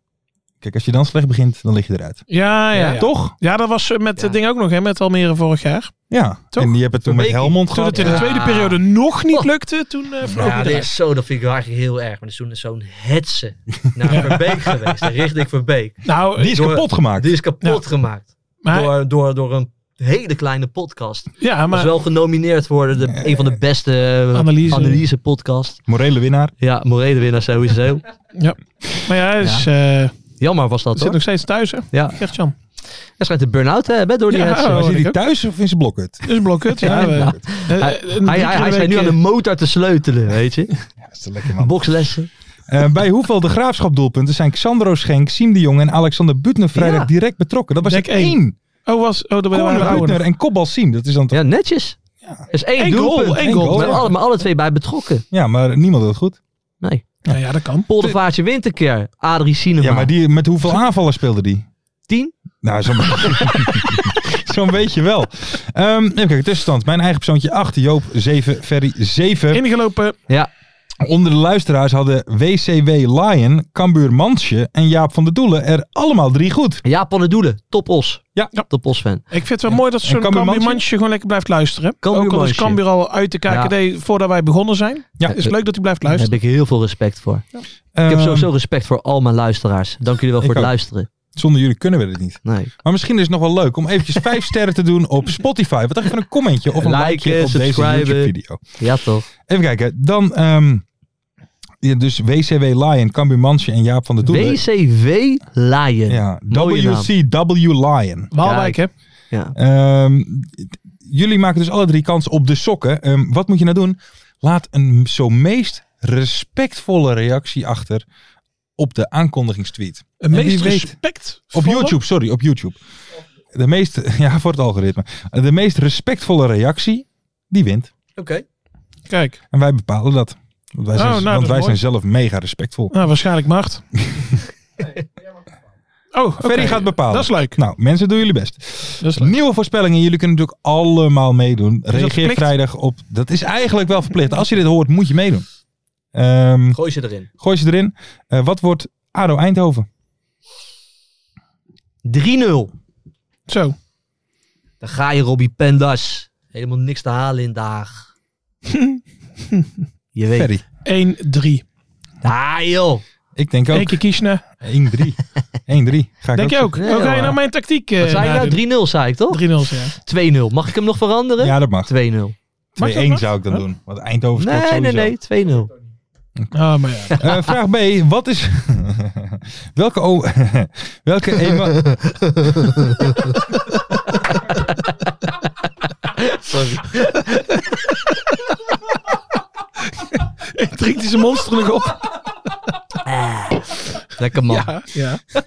[SPEAKER 4] Kijk, als je dan slecht begint, dan lig je eruit.
[SPEAKER 5] Ja, ja, ja.
[SPEAKER 4] Toch?
[SPEAKER 5] Ja, dat was eh, met
[SPEAKER 6] Ja.
[SPEAKER 5] het ding ook nog, hè, met Almere vorig jaar.
[SPEAKER 4] Ja.
[SPEAKER 5] Toch?
[SPEAKER 4] En je hebt het toen met
[SPEAKER 6] Verbeek-
[SPEAKER 4] Helmond
[SPEAKER 5] Toen
[SPEAKER 4] gehad.
[SPEAKER 5] het in de
[SPEAKER 6] Ja.
[SPEAKER 5] tweede periode nog niet
[SPEAKER 6] Oh.
[SPEAKER 5] lukte, toen eh vloog
[SPEAKER 6] Ja,
[SPEAKER 5] het
[SPEAKER 6] dat,
[SPEAKER 5] eruit.
[SPEAKER 6] is zo, dat vind ik eigenlijk heel erg. Maar er is toen zo'n hetsen naar Verbeek geweest. Richting Verbeek.
[SPEAKER 5] Nou,
[SPEAKER 4] Die is
[SPEAKER 6] Door-
[SPEAKER 4] kapot gemaakt.
[SPEAKER 6] Die is kapot gemaakt.
[SPEAKER 5] maar,
[SPEAKER 6] Door, door, door een hele kleine podcast.
[SPEAKER 5] ja,
[SPEAKER 6] Maar,
[SPEAKER 5] maar
[SPEAKER 6] was wel genomineerd voor de, een van de beste eh,
[SPEAKER 5] Analyse.
[SPEAKER 6] analyse-podcast.
[SPEAKER 4] Morele
[SPEAKER 5] Oh,
[SPEAKER 4] winnaar.
[SPEAKER 6] ja, Morele winnaar sowieso.
[SPEAKER 5] Maar ja, hij is, eh,
[SPEAKER 6] Jammer was dat
[SPEAKER 5] zit
[SPEAKER 6] hoor.
[SPEAKER 5] nog steeds thuis, hè?
[SPEAKER 6] Ja,
[SPEAKER 5] Gertjan.
[SPEAKER 6] hij schijnt een burn-out te hebben door die
[SPEAKER 5] Ja,
[SPEAKER 6] hetsen.
[SPEAKER 5] oh,
[SPEAKER 4] Maar zit
[SPEAKER 5] ik
[SPEAKER 4] hij
[SPEAKER 5] ook.
[SPEAKER 4] thuis of in zijn blokhut?
[SPEAKER 5] Dus blokhut. Ja, we-
[SPEAKER 6] Ja.
[SPEAKER 5] eh,
[SPEAKER 6] Hij,
[SPEAKER 5] eh, een
[SPEAKER 6] hij,
[SPEAKER 5] drie
[SPEAKER 6] hij,
[SPEAKER 5] keer
[SPEAKER 6] hij staat nu
[SPEAKER 5] week, eh,
[SPEAKER 6] aan de motor te sleutelen, weet je.
[SPEAKER 4] Dat is lekker man.
[SPEAKER 6] Boxlessen.
[SPEAKER 4] Eh, bij hoeveel de graafschap doelpunten zijn Xandro Schenk, Siem de Jong en Alexander Butner vrijdag
[SPEAKER 6] Ja.
[SPEAKER 4] direct betrokken? Dat was
[SPEAKER 5] Dek
[SPEAKER 4] het één.
[SPEAKER 5] eh, Oh, was, oh, dat waren we
[SPEAKER 4] Corner
[SPEAKER 5] ouder.
[SPEAKER 4] Butner en kopbal Siem. Dat is dan toch...
[SPEAKER 6] Ja, netjes. Er is één
[SPEAKER 5] Eén goal,
[SPEAKER 6] doelpunt.
[SPEAKER 5] één
[SPEAKER 6] Eén
[SPEAKER 5] goal.
[SPEAKER 6] Met
[SPEAKER 4] Ja.
[SPEAKER 6] alle, maar alle twee bij betrokken.
[SPEAKER 4] Ja, maar niemand doet het goed.
[SPEAKER 6] Nee.
[SPEAKER 5] Nou ja, dat kan.
[SPEAKER 6] Poldervaartje wint een keer. Adrie Cinema.
[SPEAKER 4] Ja, maar die, met hoeveel aanvallen speelde die?
[SPEAKER 6] Tien?
[SPEAKER 4] Nou, zo'n zo beetje wel. Ehm even kijken, tussenstand. Mijn eigen persoontje 8, Joop 7, Ferry 7.
[SPEAKER 5] Ingelopen.
[SPEAKER 6] Ja.
[SPEAKER 4] Onder de luisteraars hadden WCW Lion, Cambuur Mansje en Jaap van der Doelen er allemaal drie goed.
[SPEAKER 6] Jaap van de Doelen. Top Os.
[SPEAKER 4] Ja.
[SPEAKER 6] Top Os fan.
[SPEAKER 5] Ik vind het wel mooi dat zo'n
[SPEAKER 4] En Cambuur
[SPEAKER 5] Cambuur
[SPEAKER 4] Mansje?
[SPEAKER 5] Mansje gewoon lekker blijft luisteren.
[SPEAKER 6] Cambuur
[SPEAKER 5] Ook al is
[SPEAKER 6] Mansje.
[SPEAKER 5] Cambuur al uit de KKD voordat wij begonnen zijn.
[SPEAKER 4] Ja. eh,
[SPEAKER 5] Is leuk dat hij blijft
[SPEAKER 6] Daar
[SPEAKER 5] luisteren. Ehm.
[SPEAKER 6] heb ik heel veel respect voor. Ik heb sowieso respect voor al mijn luisteraars. Dank jullie wel
[SPEAKER 4] ik
[SPEAKER 6] voor het
[SPEAKER 4] ook.
[SPEAKER 6] luisteren.
[SPEAKER 4] Zonder jullie kunnen we dit niet.
[SPEAKER 6] Nee.
[SPEAKER 4] Maar misschien is het nog wel leuk om eventjes vijf sterren te doen op Spotify. Wat dacht je van een commentje of een
[SPEAKER 6] Liken,
[SPEAKER 4] likeje op deze
[SPEAKER 6] subscriben.
[SPEAKER 4] YouTube-video?
[SPEAKER 6] Ja, toch?
[SPEAKER 4] Even kijken. Dan ehm, ja, dus WCW Lion, Cambuur Mansje en Jaap van der Doelen.
[SPEAKER 6] WCW Lion.
[SPEAKER 4] ja,
[SPEAKER 6] Mooie naam.
[SPEAKER 4] WCW Lion.
[SPEAKER 5] Waalwijk, hè?
[SPEAKER 6] Ja.
[SPEAKER 4] Ehm, jullie maken dus alle drie kans op de sokken. Ehm, wat moet je nou doen? Laat een zo meest respectvolle reactie achter op de aankondigingstweet.
[SPEAKER 5] Een
[SPEAKER 4] En wie
[SPEAKER 5] meest
[SPEAKER 4] weet-
[SPEAKER 5] respect.
[SPEAKER 4] Op YouTube, sorry, op YouTube. De meest, ja, voor het algoritme. De meest respectvolle reactie, die wint.
[SPEAKER 6] Oké.
[SPEAKER 5] Kijk,
[SPEAKER 4] En wij bepalen dat. Want wij zijn,
[SPEAKER 5] Oh, nou, dat
[SPEAKER 4] want
[SPEAKER 5] is
[SPEAKER 4] wij
[SPEAKER 5] mooi.
[SPEAKER 4] zijn zelf mega respectvol.
[SPEAKER 5] nou waarschijnlijk Mart. Oh, oké.
[SPEAKER 4] Ferry gaat bepalen.
[SPEAKER 5] Dat is leuk.
[SPEAKER 4] Nou, mensen, doen jullie best.
[SPEAKER 5] Dat is leuk.
[SPEAKER 4] Nieuwe voorspellingen. Jullie kunnen natuurlijk allemaal meedoen. Reageer
[SPEAKER 5] verplicht?
[SPEAKER 4] vrijdag op. Dat is eigenlijk wel verplicht. Als je dit hoort, moet je meedoen. Ehm,
[SPEAKER 6] Gooi ze erin.
[SPEAKER 4] gooi ze erin. Eh, wat wordt ADO Eindhoven?
[SPEAKER 6] 3-0.
[SPEAKER 5] Zo.
[SPEAKER 6] Dan ga je, Robbie Pendas. Helemaal niks te halen in Daag. je weet.
[SPEAKER 4] Ferry.
[SPEAKER 5] 1-3.
[SPEAKER 6] Ah, joh.
[SPEAKER 4] Ik denk ook
[SPEAKER 5] Eén keer kiezen.
[SPEAKER 4] 1-3. 1-3. Ga ik
[SPEAKER 5] Denk je ook?
[SPEAKER 6] Ja,
[SPEAKER 5] Hoe ga je
[SPEAKER 6] ja.
[SPEAKER 5] nou mijn tactiek eh
[SPEAKER 6] Wat zei
[SPEAKER 5] nadoen?
[SPEAKER 6] je nou? 3-0 zei ik toch?
[SPEAKER 5] 3-0, ja.
[SPEAKER 6] 2-0. Mag ik hem nog veranderen?
[SPEAKER 4] Ja, dat mag.
[SPEAKER 6] 2-0. Nee,
[SPEAKER 4] 2-1 zou ik dan doen. Want Eindhoven scoort
[SPEAKER 6] nee, nee,
[SPEAKER 4] sowieso.
[SPEAKER 6] nee. 2-0.
[SPEAKER 5] Ah, maar ja.
[SPEAKER 4] Eh, vraag B. Wat is... welke... o- welke emo-
[SPEAKER 6] Sorry.
[SPEAKER 5] Drinkt hij zijn monster nog op?
[SPEAKER 6] Ah, Lekker man.
[SPEAKER 5] Ja. ja.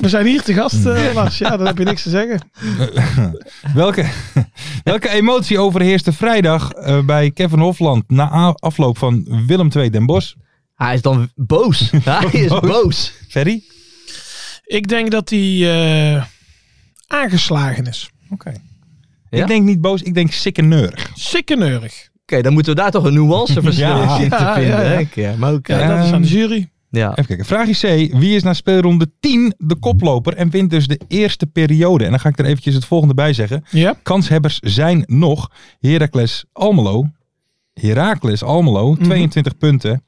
[SPEAKER 5] We zijn hier te gast, eh Lars. Ja, dan heb je niks te zeggen.
[SPEAKER 4] welke, welke emotie overheerste vrijdag eh, bij Kevin Hofland na a- afloop van Willem II Den Bosch?
[SPEAKER 6] Hij is dan boos. Hij is boos.
[SPEAKER 4] Ferry?
[SPEAKER 5] Ik denk dat hij eh, aangeslagen is.
[SPEAKER 4] Oké.
[SPEAKER 6] Ja?
[SPEAKER 4] Ik denk niet boos, ik denk sick en neurig.
[SPEAKER 5] Sikke neurig.
[SPEAKER 6] Oké, dan moeten we daar toch een nuanceverschil
[SPEAKER 4] Ja.
[SPEAKER 6] in zien te
[SPEAKER 5] Ja,
[SPEAKER 6] vinden.
[SPEAKER 5] ja, ja.
[SPEAKER 6] hè? Ja, maar oké.
[SPEAKER 5] Ja, dat is aan de jury.
[SPEAKER 6] Ja.
[SPEAKER 4] Even kijken. Vraag C. Wie is na speelronde 10 de koploper en wint dus de eerste periode? En dan ga ik er eventjes het volgende bij zeggen.
[SPEAKER 5] Ja.
[SPEAKER 4] Kanshebbers zijn nog Heracles Almelo. Heracles Almelo,
[SPEAKER 6] Mhm.
[SPEAKER 4] 22 punten.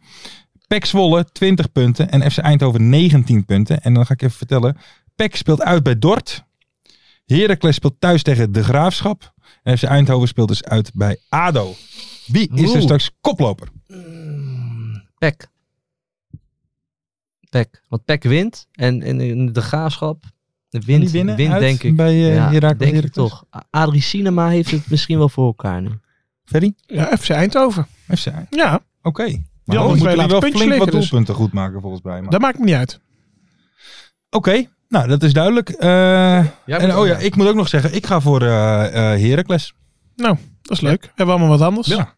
[SPEAKER 4] PEC Zwolle, 20 punten. En FC Eindhoven, 19 punten. En dan ga ik even vertellen. PEC speelt uit bij Dort. Heracles speelt thuis tegen De Graafschap. En FC Eindhoven speelt dus uit bij ADO. Wie is er
[SPEAKER 6] Oeh.
[SPEAKER 4] straks koploper?
[SPEAKER 6] Pek. Pek. Want Pek wint. En, en, en de graafschap. De
[SPEAKER 4] Kan
[SPEAKER 6] wint,
[SPEAKER 4] die winnen
[SPEAKER 6] wint
[SPEAKER 4] uit
[SPEAKER 6] denk ik.
[SPEAKER 4] Bij eh
[SPEAKER 6] ja,
[SPEAKER 4] Heracles
[SPEAKER 6] denk ik
[SPEAKER 4] Heracles?
[SPEAKER 6] toch. A- Adrie Cinema heeft het misschien wel voor elkaar nu.
[SPEAKER 4] Ferry?
[SPEAKER 5] Ja, FC Eindhoven.
[SPEAKER 4] FC. Oké.
[SPEAKER 5] Ja,
[SPEAKER 4] Maar dan moeten
[SPEAKER 5] andere twee
[SPEAKER 4] jullie wel
[SPEAKER 5] laten
[SPEAKER 4] flink
[SPEAKER 5] puntjes
[SPEAKER 4] wat
[SPEAKER 5] liggen, dus.
[SPEAKER 4] doelpunten goed maken volgens mij. maar-
[SPEAKER 5] dat maakt me niet uit.
[SPEAKER 4] Oké, nou dat is duidelijk. Eh, en, oh ja, ik moet ook nog zeggen, ik ga voor eh eh, Heracles.
[SPEAKER 5] Nou, dat is leuk. Hebben we allemaal wat anders?
[SPEAKER 4] Ja.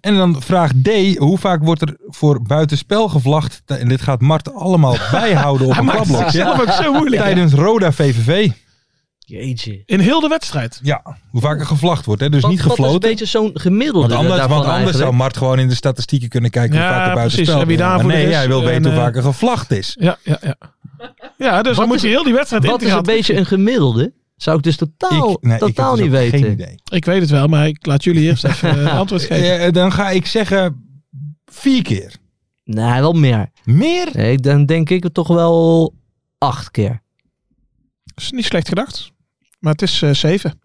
[SPEAKER 4] En dan vraag D. Hoe vaak wordt er voor buitenspel gevlacht? T- En dit gaat Mart allemaal bijhouden op
[SPEAKER 5] Hij
[SPEAKER 4] een
[SPEAKER 5] maakt het
[SPEAKER 4] klapblokje.
[SPEAKER 5] zichzelf ook zo moeilijk.
[SPEAKER 4] Tijdens Roda VVV.
[SPEAKER 6] Jeetje.
[SPEAKER 5] In heel de wedstrijd.
[SPEAKER 4] Ja, hoe vaak er gevlacht wordt. Hè? Dus
[SPEAKER 6] Wat-
[SPEAKER 4] niet
[SPEAKER 6] Wat is een
[SPEAKER 4] gefloten.
[SPEAKER 6] beetje zo'n gemiddelde
[SPEAKER 4] Want anders,
[SPEAKER 6] daarvan
[SPEAKER 4] want anders zou
[SPEAKER 6] eigenlijk?
[SPEAKER 4] Mart gewoon in de statistieken kunnen kijken hoe
[SPEAKER 5] Ja,
[SPEAKER 4] vaak er
[SPEAKER 5] precies.
[SPEAKER 4] buitenspel
[SPEAKER 5] En wie
[SPEAKER 4] wordt.
[SPEAKER 5] daarvoor
[SPEAKER 4] Maar Nee,
[SPEAKER 5] is,
[SPEAKER 4] jij wil
[SPEAKER 5] en,
[SPEAKER 4] weten hoe
[SPEAKER 5] eh,
[SPEAKER 4] vaak er gevlacht is.
[SPEAKER 5] Ja, ja, ja. Ja, dus dan
[SPEAKER 6] is-
[SPEAKER 5] moet je heel die wedstrijd in
[SPEAKER 6] Wat
[SPEAKER 5] te
[SPEAKER 6] is een
[SPEAKER 5] gaan.
[SPEAKER 6] beetje een gemiddelde? Zou ik dus totaal,
[SPEAKER 4] Ik- nee, ik heb
[SPEAKER 6] totaal
[SPEAKER 4] dus
[SPEAKER 6] niet
[SPEAKER 4] ook
[SPEAKER 6] weten.
[SPEAKER 4] Geen idee.
[SPEAKER 5] Ik weet het wel, maar ik laat jullie eerst even eh, antwoord geven.
[SPEAKER 4] Eh, dan ga ik zeggen vier keer.
[SPEAKER 6] Nee, wel meer.
[SPEAKER 4] Meer?
[SPEAKER 6] Nee, dan denk ik toch wel acht keer.
[SPEAKER 5] is niet slecht gedacht. Maar het is eh, zeven.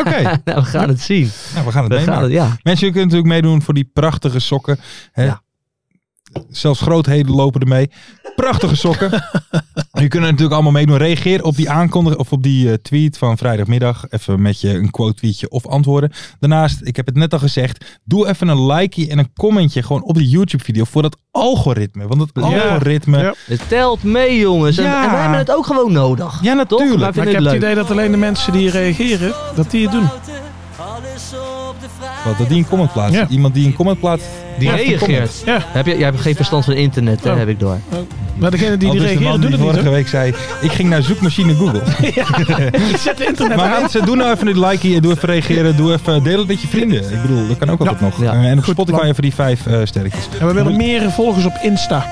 [SPEAKER 4] Oké,
[SPEAKER 6] Nou, we gaan het zien.
[SPEAKER 4] nou, we gaan het
[SPEAKER 6] We gaan
[SPEAKER 4] meemaken.
[SPEAKER 6] het, ja.
[SPEAKER 4] Mensen, jullie kunnen natuurlijk meedoen voor die prachtige sokken. Hè?
[SPEAKER 6] Ja.
[SPEAKER 4] Zelfs grootheden lopen ermee. Prachtige sokken. jullie kunnen natuurlijk allemaal meedoen. Reageer op die aankondiging of op die eh, tweet van vrijdagmiddag. Even met je een quote tweetje of antwoorden. Daarnaast, ik heb het net al gezegd. Doe even een likeje en een commentje gewoon op die YouTube video voor dat algoritme. Want dat
[SPEAKER 5] Ja.
[SPEAKER 4] algoritme... Ja,
[SPEAKER 5] Ja.
[SPEAKER 6] Het telt mee, jongens. En,
[SPEAKER 4] Ja.
[SPEAKER 6] en wij hebben het ook gewoon nodig.
[SPEAKER 4] natuurlijk.
[SPEAKER 6] Toch? Wij
[SPEAKER 5] Maar
[SPEAKER 6] vinden
[SPEAKER 5] ik heb
[SPEAKER 6] het
[SPEAKER 5] het
[SPEAKER 6] leuk.
[SPEAKER 5] idee dat alleen de mensen die reageren, dat die het doen.
[SPEAKER 4] Wat, dat die een comment plaatst.
[SPEAKER 5] Ja.
[SPEAKER 4] Iemand die een comment plaatst.
[SPEAKER 6] Die
[SPEAKER 4] heeft een comment.
[SPEAKER 6] reageert.
[SPEAKER 5] Ja,
[SPEAKER 6] Heb je, jij hebt geen verstand van internet, hè,
[SPEAKER 5] Oh.
[SPEAKER 6] heb ik door.
[SPEAKER 5] maar degene die,
[SPEAKER 4] Al
[SPEAKER 5] die
[SPEAKER 4] dus de man
[SPEAKER 5] reageren doen
[SPEAKER 4] die
[SPEAKER 5] het niet.
[SPEAKER 4] vorige
[SPEAKER 5] hoor.
[SPEAKER 4] week zei, ik ging naar zoekmachine Google.
[SPEAKER 5] Ik zet de internet
[SPEAKER 4] maar
[SPEAKER 5] aan.
[SPEAKER 4] mensen, doe nou even dit like hier, doe even reageren, doe even, deel het met je vrienden. Ik bedoel, dat kan ook altijd nog.
[SPEAKER 6] Ja.
[SPEAKER 4] Eh, en op Spotify
[SPEAKER 5] plan.
[SPEAKER 4] even die vijf eh, sterretjes.
[SPEAKER 5] En we willen meer volgers op Insta.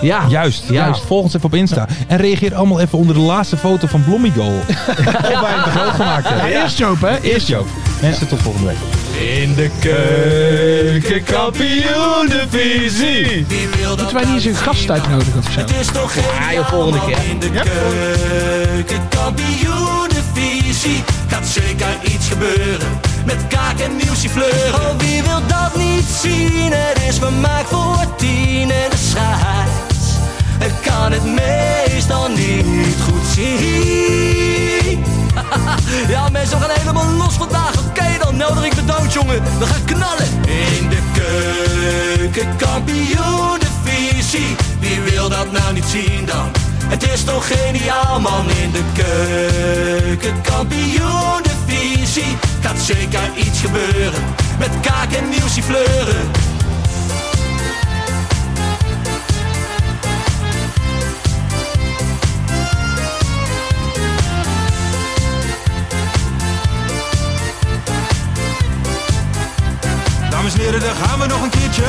[SPEAKER 6] Ja.
[SPEAKER 4] Juist, juist.
[SPEAKER 6] Ja.
[SPEAKER 4] Volg ons even op Insta. En reageer allemaal even onder de laatste foto van Blommigoal. Of wij hem te groot gemaakt hebben.
[SPEAKER 5] Eerst Joop, hè?
[SPEAKER 4] Eerst Joop. Mensen, tot volgende week.
[SPEAKER 6] In de keuken, kampioen divisie.
[SPEAKER 9] Moeten wij niet eens een gast uitnodigen of zo?
[SPEAKER 6] nou Het is toch
[SPEAKER 10] Ja, joh, volgende keer.
[SPEAKER 6] In de keuken, kampioen divisie. Gaat zeker iets gebeuren. Met kaak en nieuwsje fleuren. Oh, wie wil dat niet zien? Het is vermaakt voor tien en de scheids. Ik kan het meestal niet goed zien. Ja, mensen, we gaan helemaal los vandaag. Oké, dan nodig ik bedankt, jongen. We gaan knallen. In de keuken, kampioen de visie. Wie wil dat nou niet zien dan? Het is toch geniaal, man. In de keuken, kampioen de visie. Gaat zeker iets gebeuren. Met kaak en nieuwsie fleuren.
[SPEAKER 11] Dames en heren, daar gaan we nog een keertje.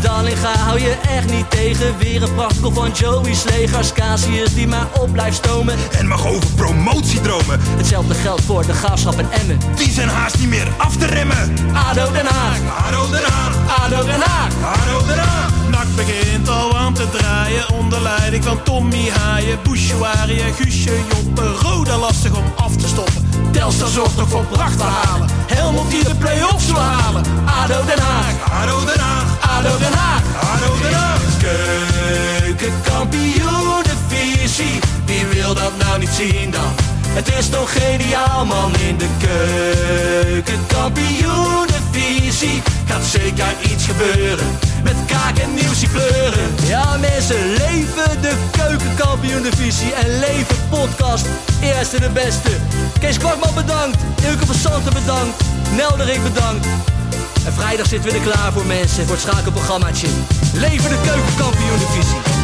[SPEAKER 6] Dallinga hou je echt niet tegen. Weer een prachtkel van Joey's legers. Casius die maar op blijft stomen.
[SPEAKER 11] En mag over promotiedromen.
[SPEAKER 6] Hetzelfde geldt voor de graafschap en Emmen.
[SPEAKER 11] Die zijn haast niet meer af te remmen.
[SPEAKER 6] ADO Den Haag,
[SPEAKER 11] Haro eraan,
[SPEAKER 6] ADO Den Haag.
[SPEAKER 11] haro eraan.
[SPEAKER 12] Nak begint al aan te draaien onder leiding van Tommy Haaien, Bouchouari en Guusje Joppen. Roda lastig om af te stoppen.
[SPEAKER 6] Telstar zorgt nog voor pracht te halen. Helmond die de play-offs wil halen. ADO Den Haag,
[SPEAKER 11] Haro eraan,
[SPEAKER 6] ADO Den Haag.
[SPEAKER 11] haro eraan.
[SPEAKER 6] Keukenkampioenenvisie, wie wil dat nou niet zien dan? Het is toch geniaal man in de keukenkampioenenvisie Gaat zeker iets gebeuren, met kaak en nieuwsie kleuren Ja mensen, leven de keukenkampioenenvisie en leven podcast Eerste de beste Kees Kwakman bedankt, Ilke van Santen bedankt, Nelderik bedankt en vrijdag zitten we er klaar voor mensen, voor het schakelprogrammaatje. Leven de keukenkampioen divisie.